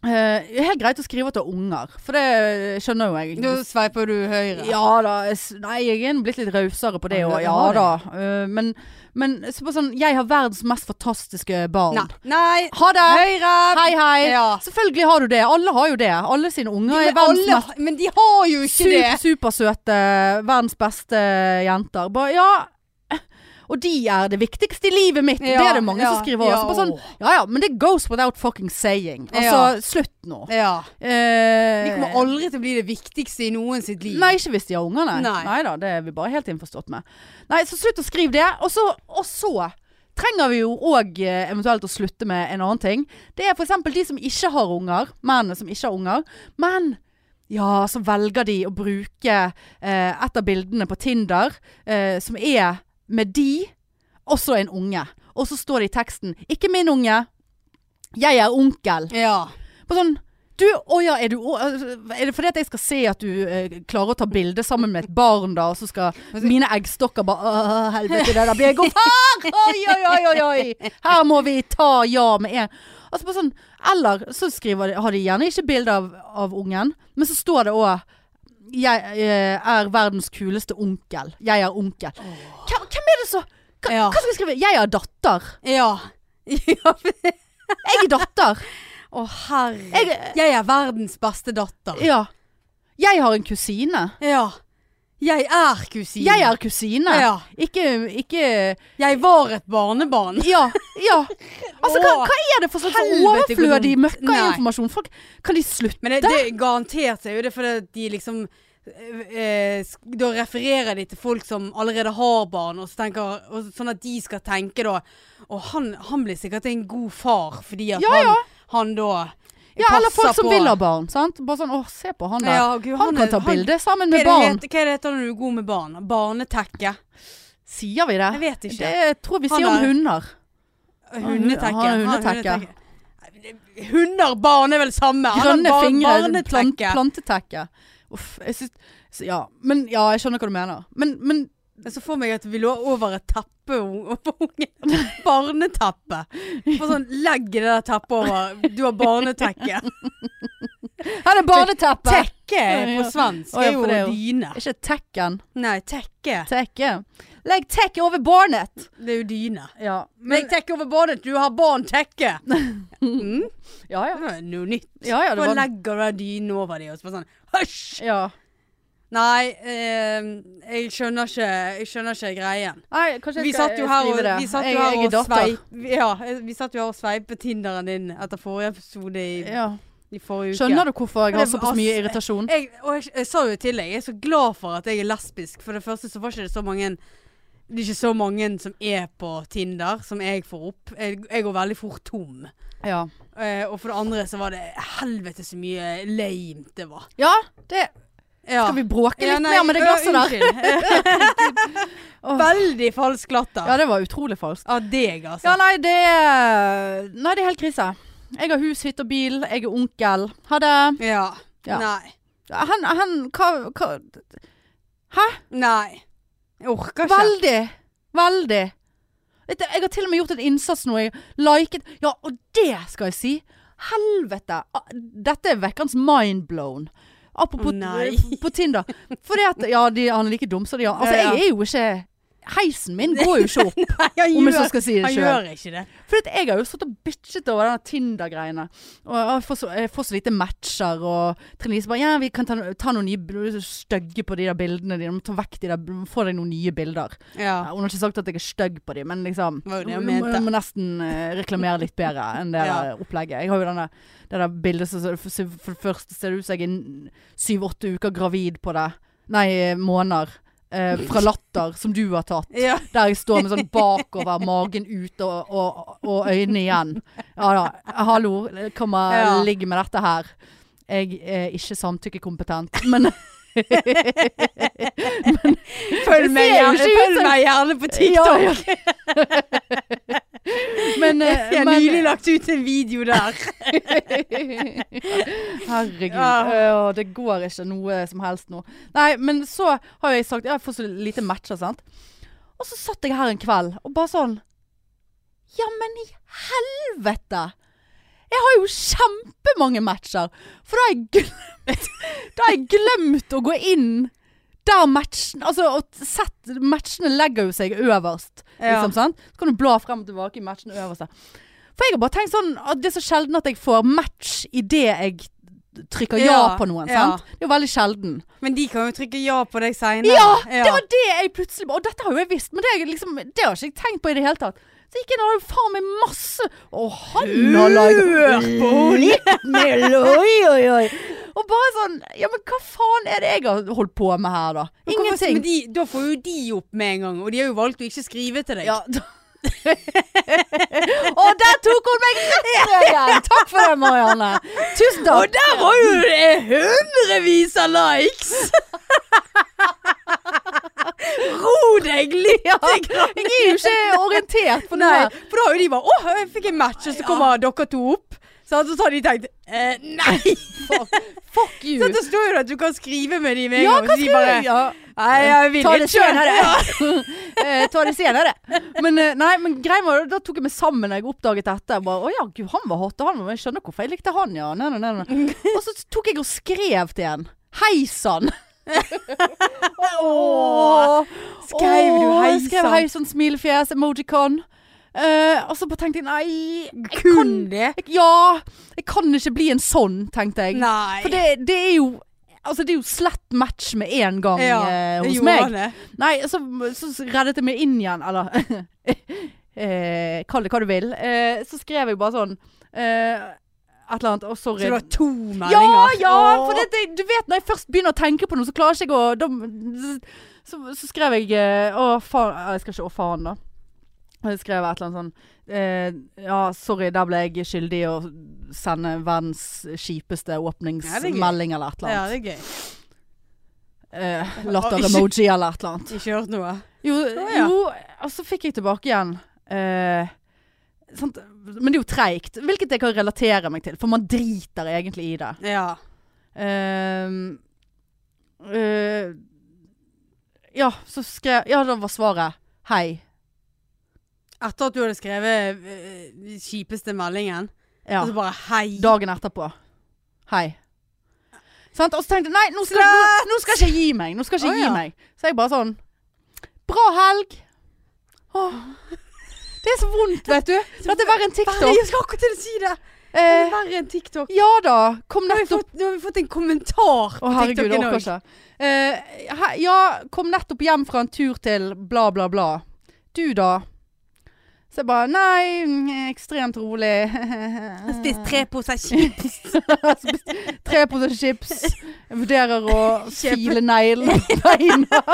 A: Eh, det er helt greit å skrive at du har unger, for det skjønner jo jeg.
C: Nå sveiper du høyre.
A: Ja da. jeg s- Nei, jeg er blitt litt rausere på det
C: Ja,
A: òg.
C: det
A: Ja
C: har
A: da. Eh, men men så bare sånn, jeg har verdens mest fantastiske barn.
C: Nei. Nei.
A: Ha det!
C: Høyre!
A: Hei, hei.
C: Ja.
A: Selvfølgelig har du det. Alle har jo det. Alle sine unger er
C: Men,
A: verdens
C: alle,
A: mest
C: men de har jo ikke det.
A: sup, supersøte, verdens beste jenter. Bare, ja. Og de er det viktigste i livet mitt.
C: Ja,
A: det er det mange
C: ja,
A: som skriver.
C: ja,
A: Ja, sånn, ja ja, men det goes without fucking saying. Altså,
C: Ja.
A: slutt nå.
C: Ja.
A: Eh,
C: De kommer aldri til å bli det viktigste i noen sitt liv.
A: Nei, ikke hvis de har unger, nei.
C: Nei.
A: Neida, det er vi bare helt innforstått med. Nei, så slutt å skrive det. Og så, og så trenger vi jo òg eh, eventuelt å slutte med en annen ting. Det er f.eks. de som ikke har unger. Mennene som ikke har unger. Men ja, så velger de å bruke eh, et av bildene på Tinder eh, som er med de, også en unge. Og så står det i teksten 'Ikke min unge. Jeg er onkel'.
C: Ja.
A: På sånn du, å ja, er, du, å- altså, er det fordi at jeg skal se at du eh, klarer å ta bilde sammen med et barn, da, og så skal mine eggstokker bare Å, helvete, det der blir jeg god far! Oi, oi, oi, oi, oi! Her må vi ta ja med en. Altså, bare sånn, eller så skriver de, har de gjerne ikke bilde av, av ungen, men så står det òg jeg eh, er verdens kuleste onkel. Jeg er onkel. Hvem, hvem er det så hva,
C: Ja.
A: hva skal jeg skrive? Jeg er datter.
C: Ja. ja.
A: Jeg er datter.
C: Å, herre. Jeg,
A: Jeg-
C: er verdens beste datter.
A: Ja. Jeg har en kusine.
C: Ja. Jeg er kusine.
A: Jeg er kusine.
C: Ja.
A: Ikke, ikke
C: Jeg var et barnebarn.
A: Ja. ja. Altså, hva,
C: Åh,
A: hva er det for slags
C: helvete,
A: overflødig
C: hvor dumt.
A: møkkainformasjon? Folk, kan de slutte?
C: Men det, det garantert er jo det fordi at de liksom eh, sk- Da refererer de til folk som allerede har barn, og så tenker, og sånn at de skal tenke da Og han, han blir sikkert en god far fordi at
A: Ja,
C: Han, han da
A: Ja, eller folk som
C: på-
A: vil ha barn. Sant? Bare sånn 'Å, se på han der'.
C: Ja, Gud,
A: han,
C: er-
A: kan ta
C: han-
A: bilde sammen
C: Hva er
A: med
C: det det
A: barn.
C: heter- Hva er det heter når du er god med barn? Barnetekke?
A: Sier vi det?
C: Jeg vet ikke.
A: Det tror vi
C: Han
A: sier om
C: er-
A: hunder.
C: Hundetekke.
A: han er
C: Ja,
A: hundetekke.
C: hundetekke. Hunder, barn er vel samme? Han har
A: Grønne
C: bar-
A: fingre, plant,
C: Barnetekke.
A: plantetekke. Uff. Jeg syns så Ja. Men ja, jeg skjønner hva du mener. Men, men
C: Men så får meg at vi lå over et teppe o- over ungen. Barneteppe. Bare sånn, legg det der teppet over. Du har barnetekke.
A: Her er barneteppet!
C: Tekke er på
A: Ja.
C: svensk
A: Å, ja,
C: er
A: for
C: jo
A: det er jo-
C: dyne.
A: Ikke tekken.
C: Nei, tekke.
A: Tekke. Legg tekke over barnet!
C: Det er jo dyne.
A: Ja.
C: Men jeg tekker over barnet. Du har barntekke. Mm.
A: Ja,
C: Det
A: ja.
C: var noe nytt.
A: ja, ja det
C: Bare
A: var
C: legger du den dynen over dem og så bare sånn Hysj!
A: Ja.
C: Nei, eh, jeg skjønner ikke, jeg skjønner ikke greien.
A: Nei, kanskje
C: Vi
A: jeg skal
C: satt jo her og,
A: skrive det.
C: vi satt jo
A: Jeg-
C: her
A: jeg er
C: og
A: datter.
C: sveip ja, vi satt jo her og sveipet Tinderen din etter forrige episode i,
A: Ja.
C: i forrige uke.
A: Skjønner du hvorfor jeg har
C: Det var
A: såpass mye
C: ass-
A: irritasjon?
C: Jeg, og jeg, jeg sa jo til deg, jeg er så glad for at jeg er lesbisk. For det første så var ikke det så mange Det er ikke så mange som er på Tinder, som jeg får opp. Jeg, jeg går veldig fort tom.
A: Ja.
C: Eh, og for det andre så var det helvete så mye lame det var.
A: ja, det
C: Ja.
A: Skal vi bråke litt
C: Ja, nei,
A: mer med det
C: ø,
A: glasset der?
C: unnskyld.
A: Åh.
C: Veldig falsk latter.
A: Ja, det var utrolig falskt.
C: Av deg, altså.
A: Ja, nei, det er Nei, det er helt krise. Jeg har hus, hytte og bil. Jeg er onkel. Ha det.
C: Ja.
A: Ja.
C: Nei.
A: Han, han Hva, hva
C: Nei. Jeg orker ikke.
A: Veldig. Veldig. Vet du, Jeg har til og med gjort en innsats nå. Jeg liket Ja, og det skal jeg si! Helvete! Ah, Dette er vekkens mindblown. Apropos
C: Å, nei.
A: eh, på Tinder. Fordi at Ja, de, han er like dum som de andre. Altså,
C: Ja, ja.
A: jeg er jo ikke Heisen min går jo ikke opp,
C: Nei, han
A: om jeg så
C: gjør,
A: skal si det
C: han
A: sjøl.
C: gjør ikke det.
A: For at jeg har jo stått og bitchet over denne Tinder-greiene. Og jeg får, så, jeg får så lite matcher, og Trine Lise bare Ja, vi kan ta, ta noen nye b- stygge på de der bildene dine. Ta vekk de der Få deg noen nye bilder.
C: Ja.
A: Ja, hun har ikke sagt at jeg er stygg på dem, men liksom
C: Det var jo det jeg
A: må-
C: mente.
A: må nesten eh, reklamere litt bedre enn det
C: Ja.
A: der opplegget. Jeg har jo denne, det der bildet som som- For det første ser det ut som jeg er syv-åtte uker gravid på det. Nei, måneder. Eh, fra latter, som du har tatt.
C: ja.
A: Der jeg står med sånn bakover, magen ut og, og, og øynene igjen. Ja da. Hallo, kom og
C: Ja.
A: ligg med dette her. Jeg er ikke samtykkekompetent, men
C: Følg,
A: Det
C: meg
A: ser jo
C: gjerne,
A: ikke ut
C: følg
A: som-
C: meg gjerne på TikTok.
A: Ja, ja. men, eh,
C: Jeg har
A: men-
C: nylig lagt ut en video der.
A: Herregud.
C: Ja.
A: Åh, det går ikke noe som helst nå. Nei, men så har jeg sagt Ja, jeg får så lite matcher, sant. Og så satt jeg her en kveld og bare sånn Ja, men i helvete! Jeg har jo kjempemange matcher! For da har jeg glemt, da har jeg glemt å gå inn der matchen Altså, og sett, matchene legger jo seg øverst.
C: Ja.
A: Liksom, sant? Så kan du bla frem og tilbake i matchen øverst der. For jeg har bare tenkt sånn at det er så sjelden at jeg får match i det jeg trykker ja,
C: Ja,
A: på noen.
C: ja.
A: Sant? Det er jo veldig sjelden.
C: Men de kan jo trykke ja på deg seinere.
A: Ja, det var det jeg plutselig Og dette har jo jeg visst, men det, er liksom, det har ikke jeg tenkt på i det hele tatt. Så gikk jeg inn og hadde faen meg masse Å, han har laget
C: Hør på henne!
A: Litt mer, oi, oi, oi. Og bare sånn Ja, men hva faen er det jeg har holdt på med her, da?
C: Men hvorfor-
A: Ingenting.
C: Men de, da får jo de opp med en gang, og de har jo valgt å ikke skrive til deg.
A: Ja, da- Og der tok hun meg rett ned igjen! Takk for det, Marianne. Tusen takk.
C: Og der var jo det hundrevis av likes! Ro deg litt!
A: ja, Jeg er jo ikke orientert på
C: Nei,
A: noe.
C: for da har jo de bare Å, jeg fikk en match, og så kommer dere to opp. Sant? Så har de tenkt eh, Nei!
A: Fuck you.
C: Så det står jo det at du kan skrive med dem med
A: Ja,
C: en gang.
A: hva
C: så de bare,
A: skriver jeg? Ja.
C: Nei, jeg vil
A: Ta
C: ikke
A: det senere. Eh, Ta det senere. Men, eh, nei, men greien var, da tok jeg meg sammen da jeg oppdaget dette. Jeg Bare, å ja, gud, han var hot, og han var Jeg skjønner hvorfor jeg likte han, ja. Nei, nei, nei, nei. Og så tok jeg og skrev til han. Hei sann! Åh.
C: Skrev du
A: Åh,
C: hei
A: jeg Skrev
C: sann?
A: hei sann, smilefjes, emojicon. Eh, og så bare tenkte jeg nei jeg
C: Kun
A: kan-
C: det?
A: jeg- Ja. Jeg kan ikke bli en sånn, tenkte jeg.
C: Nei.
A: For det, det er jo Altså, det er jo slett match med en gang eh, hos
C: gjorde
A: meg.
C: han det.
A: Nei, så, så reddet jeg meg inn igjen, eller eh, Kall det hva du vil. Eh, så skrev jeg bare sånn eh, Et eller annet. Å,
C: Så
A: sorry.
C: du har to
A: ja,
C: meldinger?
A: ja!
C: Åh.
A: For det, det, du vet når jeg først begynner å tenke på noe, så klarer ikke jeg å da, så, så skrev jeg eh, Å, faen. Jeg skal ikke å faen, da. Jeg skrev et eller annet sånn eh, Ja, sorry, der ble jeg skyldig i å sende verdens kjipeste
C: det er gøy.
A: åpningsmelding eller et eller
C: ja,
A: annet.
C: det er gøy.
A: eh,
C: Å, ikke-
A: Latter-emoji eller et eller annet.
C: Ikke hørt noe?
A: Jo,
C: ja.
A: jo, og så fikk jeg tilbake igjen. eh, sant? Men det er jo treigt, hvilket jeg kan relatere meg til, for man driter egentlig i det.
C: Ja.
A: Ehm, eh, ja, så skrev Ja, da var svaret hei.
C: Etter at du hadde skrevet eh, den kjipeste meldingen,
A: Ja.
C: og så bare hei.
A: Dagen etterpå. Hei. Sant? Og så tenkte jeg nei, nå skal, nå, nå skal jeg ikke gi meg. Nå skal jeg ikke
C: Å,
A: gi
C: ja.
A: meg. Så jeg bare sånn Bra helg. Åh. Det er så vondt, vet du. Dette er verre enn
C: Verre,
A: TikTok.
C: jeg skal akkurat til å si det! Det er
A: Eh,
C: Verre enn TikTok.
A: Ja da, kom
C: Nå har vi
A: nettopp
C: fått, nå har vi fått en kommentar
A: Å
C: på
A: herregud, jeg
C: TikTok-en
A: orker
C: òg.
A: ikke. Eh, he- ja, kom nettopp hjem fra en tur til bla, bla, bla. Du da? Så jeg bare Nei, mm, ekstremt rolig.
C: Spist tre poser chips.
A: Tre poser chips. Jeg vurderer å file neglene i beina.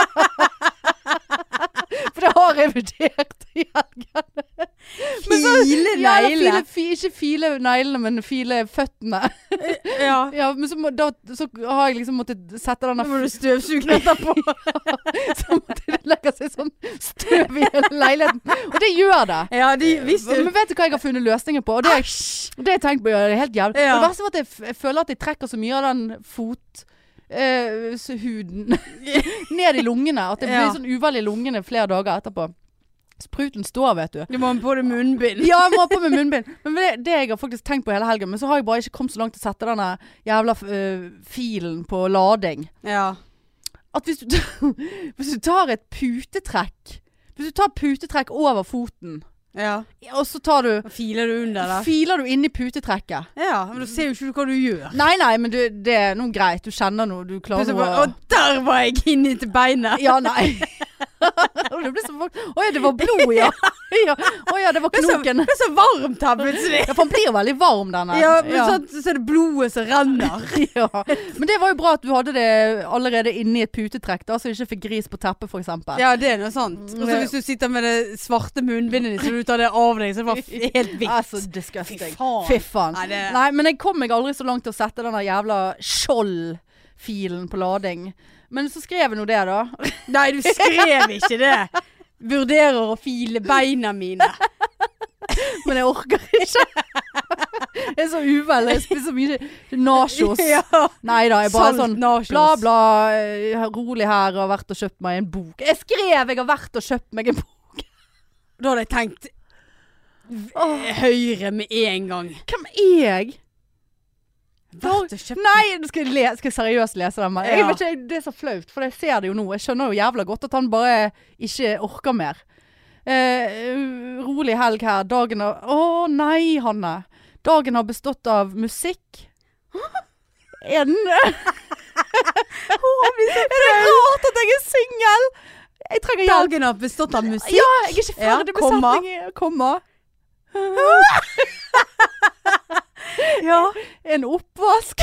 A: For det har jeg vurdert i helgen.
C: File
A: Ja, eller
C: negler.
A: file- fi- Ikke file neglene, men file føttene.
C: Ja.
A: Ja, men så, må, da, så har jeg liksom måttet sette denne
C: Da må du støvsuge etterpå.
A: Så måtte det legge seg sånn støv i hele leiligheten. Og det gjør det.
C: Ja, de visste
A: Men
C: jo
A: vet du hva jeg har funnet løsninger på? Og det, og det har jeg tenkt på, ja, det er helt jævlig.
C: Ja.
A: Og Det verste var at jeg, f jeg føler at jeg trekker så mye av den fot... eh, s- huden ned i lungene. At det blir
C: Ja.
A: sånn uvel i lungene flere dager etterpå. Spruten står, vet du.
C: Du må ha på deg munnbind.
A: Ja, jeg må ha på meg munnbind. Men det, det jeg har faktisk tenkt på hele helgen, men så har jeg bare ikke kommet så langt til å sette denne jævla eh, filen på lading
C: Ja.
A: at hvis du, hvis du tar et putetrekk Hvis du tar putetrekk over foten,
C: ja.
A: og så tar du
C: Da Filer du under der?
A: Filer du inni putetrekket.
C: Ja, men da ser jo ikke du hva du gjør.
A: Nei, nei, men du, det er noe greit. Du kjenner noe. Du klarer
C: Plutselig bare
A: å
C: Å, der var jeg inne til beinet!
A: Ja, nei. det ble så folk- Å ja, det var blod, ja. ja. Å ja, det var
C: Det er så,
A: knoken.
C: det er så varmt her plutselig.
A: Ja, for han blir jo veldig varm, denne.
C: Ja, men sånn, så er det blodet som renner.
A: ja. Men det var jo bra at du hadde det allerede inni et putetrekk, da, så du ikke fikk gris på teppet, for eksempel.
C: Ja, det er noe sant. Og så hvis du sitter med det svarte munnbindet ditt, så du tar det av deg, så er det bare f- helt hvitt.
A: Altså, disgusting.
C: Fy faen.
A: Fy faen.
C: Nei, det-
A: Nei, men jeg kom meg aldri så langt til å sette den jævla skjold-filen på lading. Men så skrev jeg nå det, da.
C: Nei, du skrev ikke det. Vurderer å file beina mine.
A: Men jeg orker ikke. Jeg er så uvel. Jeg spiser så mye nachos.
C: Ja.
A: Nei da, jeg bare
C: Salt
A: sånn
C: nachos.
A: bla, bla. eh, Rolig her, har vært og kjøpt meg en bok. Jeg skrev jeg har vært og kjøpt meg en bok.
C: Da hadde jeg tenkt
A: Åh,
C: høyre med en gang.
A: hvem er jeg?
C: Vært og kjøpt
A: Nei, nå skal jeg, le, skal jeg seriøst lese den? men Jeg
C: Ja.
A: vet ikke, Det er så flaut, for jeg ser det jo nå. Jeg skjønner jo jævla godt at han bare ikke orker mer. Eh, rolig helg her. Dagen har Å nei, Hanne. Dagen har bestått av musikk. Er den Er det rart at jeg er singel? Jeg trenger hjelp.
C: Dagen har bestått av musikk.
A: Ja, jeg er ikke
C: Ja,
A: ferdig med
C: komma.
A: setningen. Komma.
C: Ja.
A: En oppvask.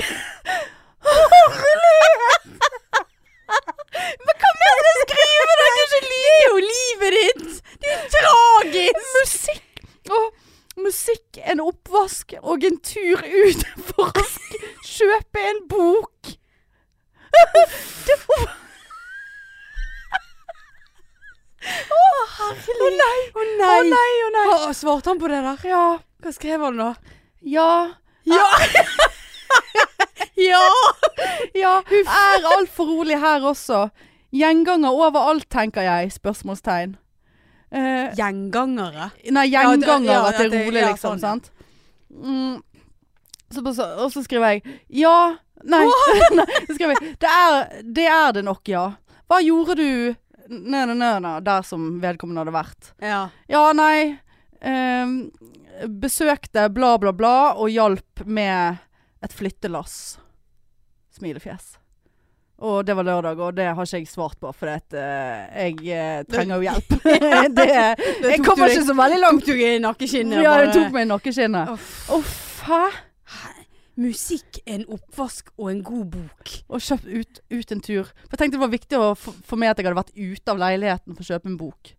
C: Men hva mer skal jeg skrive? Det er ikke livet ditt! Tragisk!
A: Musikk! Åh, musikk, en oppvask og en tur ut for å sk- kjøpe en bok. Det var Å, herlig. Å nei,
C: Å
A: å
C: nei!
A: nei, å nei.
C: Hva- Svarte han på det der?
A: Ja.
C: Hva skrev han da?
A: Ja.
C: Ja! ja!
A: Ja. Er altfor rolig her også. Gjenganger overalt, tenker jeg. Spørsmålstegn. Eh,
C: Gjengangere.
A: Nei,
C: Ja, det-
A: gjenganger,
C: ja,
A: at det
C: at det-
A: er rolig,
C: ja,
A: liksom.
C: sånn, ja.
A: Sant? Mm. Så bare så, og så skriver jeg Ja. Nei. nei så skriver jeg, det, er, det er det nok, ja. Hva gjorde du Nei, nei, nei, nei, der som vedkommende hadde vært?
C: Ja.
A: Ja, nei ehm, Besøkte bla, bla, bla og hjalp med et flyttelass. Smilefjes. Og det var lørdag, og det har ikke jeg svart på, for at, eh, jeg eh, trenger jo hjelp. det, jeg kommer ikke så veldig langt.
C: langt du i nakkeskinnet.
A: Ja, det
C: bare-
A: tok meg i nakkeskinnet.
C: Uff.
A: Uff, hæ?
C: Musikk, en oppvask og en god bok.
A: Og kjøpt ut, ut en tur. For jeg tenkte det var viktig å f- for meg at jeg hadde vært ute av leiligheten for å kjøpe en bok.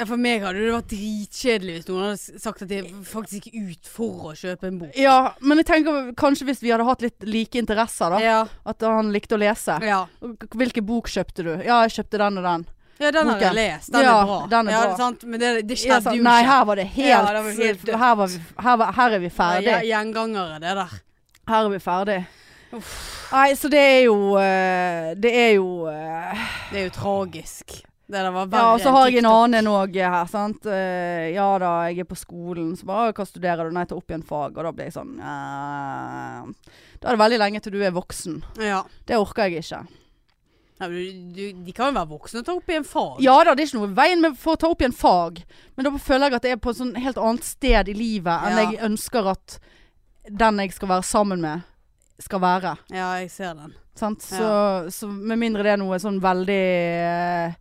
C: Ja, For meg hadde det vært dritkjedelig hvis noen hadde s- sagt at jeg faktisk gikk ut for å kjøpe en bok.
A: Ja, men jeg tenker kanskje hvis vi hadde hatt litt like interesser, da.
C: Ja.
A: At han likte å lese.
C: Ja,
A: Hvilken bok kjøpte du? Ja, jeg kjøpte den og den.
C: ja den har jeg
A: Boken.
C: lest. Den
A: Ja,
C: er bra.
A: den er
C: ja,
A: bra.
C: det er sant, men det, det
A: Ja,
C: skjedde
A: sa-
C: jo
A: nei,
C: ikke.
A: her var det helt,
C: Ja, det var helt dødt.
A: her, var vi, her, var, her er vi ferdig.
C: Ja, Gjengangere, det der.
A: Her er vi ferdig. Nei, så det er jo eh, Det er jo eh,
C: Det er jo tragisk. Det der var verre
A: Ja, og så
C: enn
A: har jeg en
C: TikTok.
A: annen òg her, sant. Eh, ja da, jeg er på skolen. Så bare hva studerer du? Nei, ta opp igjen fag. Og da blir jeg sånn eh, Da er det veldig lenge til du er voksen.
C: Ja.
A: Det orker jeg ikke.
C: Ja, men du, du, de kan jo være voksne og ta opp i en fag.
A: Ja da, det er ikke noe i veien med for å ta opp igjen fag, men da føler jeg at jeg er på et sånn helt annet sted i livet enn
C: Ja.
A: jeg ønsker at den jeg skal være sammen med, skal være.
C: ja jeg ser den.
A: Sant? Så, så med mindre det er noe sånn veldig eh,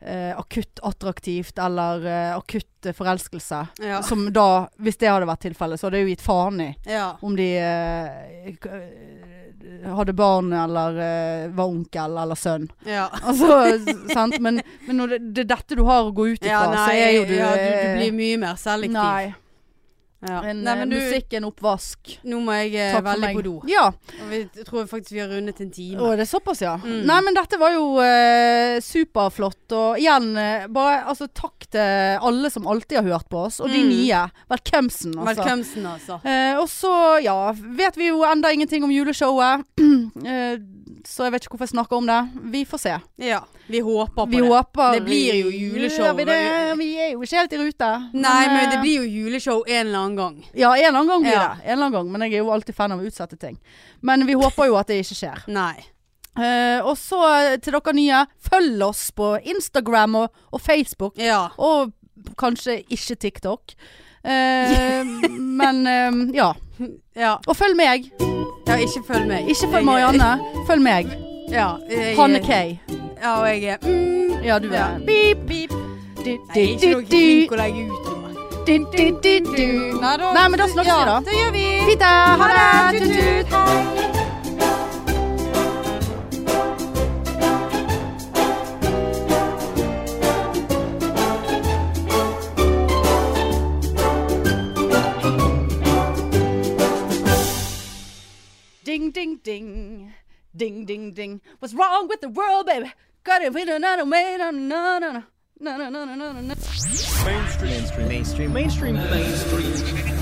A: eh, akutt attraktivt eller eh, akutt eh, forelskelse.
C: Ja.
A: Som da, hvis det hadde vært tilfellet, så hadde jeg jo gitt faen i
C: ja.
A: om de eh, k- eh, hadde barn eller eh, var onkel eller sønn.
C: ja.
A: Altså, s- sant? Men, men når det, det er dette du har å gå ut ifra,
C: Ja, nei,
A: så er jo du eh,
C: ja, du, du blir mye mer selektiv.
A: Nei.
C: Ja.
A: En,
C: nei men du,
A: musikk, en oppvask.
C: nå må jeg eh,
A: Takk for
C: veldig
A: meg.
C: på do.
A: Ja.
C: Og vi jeg tror faktisk vi har rundet en time.
A: Å, det er såpass, ja.
C: Mm.
A: Nei, men dette var jo eh, superflott. Og igjen, eh, bare altså, takk til alle som alltid har hørt på oss, og de
C: Mm.
A: nye. Velkomsten, altså.
C: Velkomsten, altså.
A: Eh, og så, ja, vet vi jo enda ingenting om juleshowet. eh, så jeg vet ikke hvorfor jeg snakker om det. Vi får se.
C: Ja. Vi håper på
A: Vi
C: det.
A: håper
C: Det blir jo juleshow.
A: Gjør vi, det? vi er jo ikke helt i rute.
C: Nei, men det
A: eh,
C: blir jo juleshow en eller annen gang.
A: Ja, en eller annen gang blir
C: Ja.
A: det. En eller annen gang, men jeg er jo alltid fan av å utsette ting. Men vi håper jo at det ikke skjer.
C: Nei.
A: Eh, og så eh, til dere nye, følg oss på Instagram og, og Facebook.
C: Ja.
A: Og kanskje ikke TikTok. Eh, men eh, ja.
C: Ja,
A: Og følg meg.
C: ja ikke følg meg.
A: Ikke følg
C: Jeg-
A: Marianne. Følg meg.
C: Ja, jeg,
A: Hanne K.
C: Ja, og jeg er mm,
A: Ja, du
C: Ja.
A: er Beep, beep. Du,
C: Nei,
A: du,
C: jeg er ikke
A: du,
C: noe
A: du,
C: flink å legge ut noe.
A: du, du, du, du. Nei, men da snakkes vi, da.
C: Ja, det gjør vi.
A: Fint, da. ha det! Tut, tut. Ding, ding, ding. Ding, ding, ding. What's wrong with the world, baby? Got it, we don't know, we don't know, no, no, no, no, no, no, no, no.
D: mainstream mainstream mainstream mainstream mainstream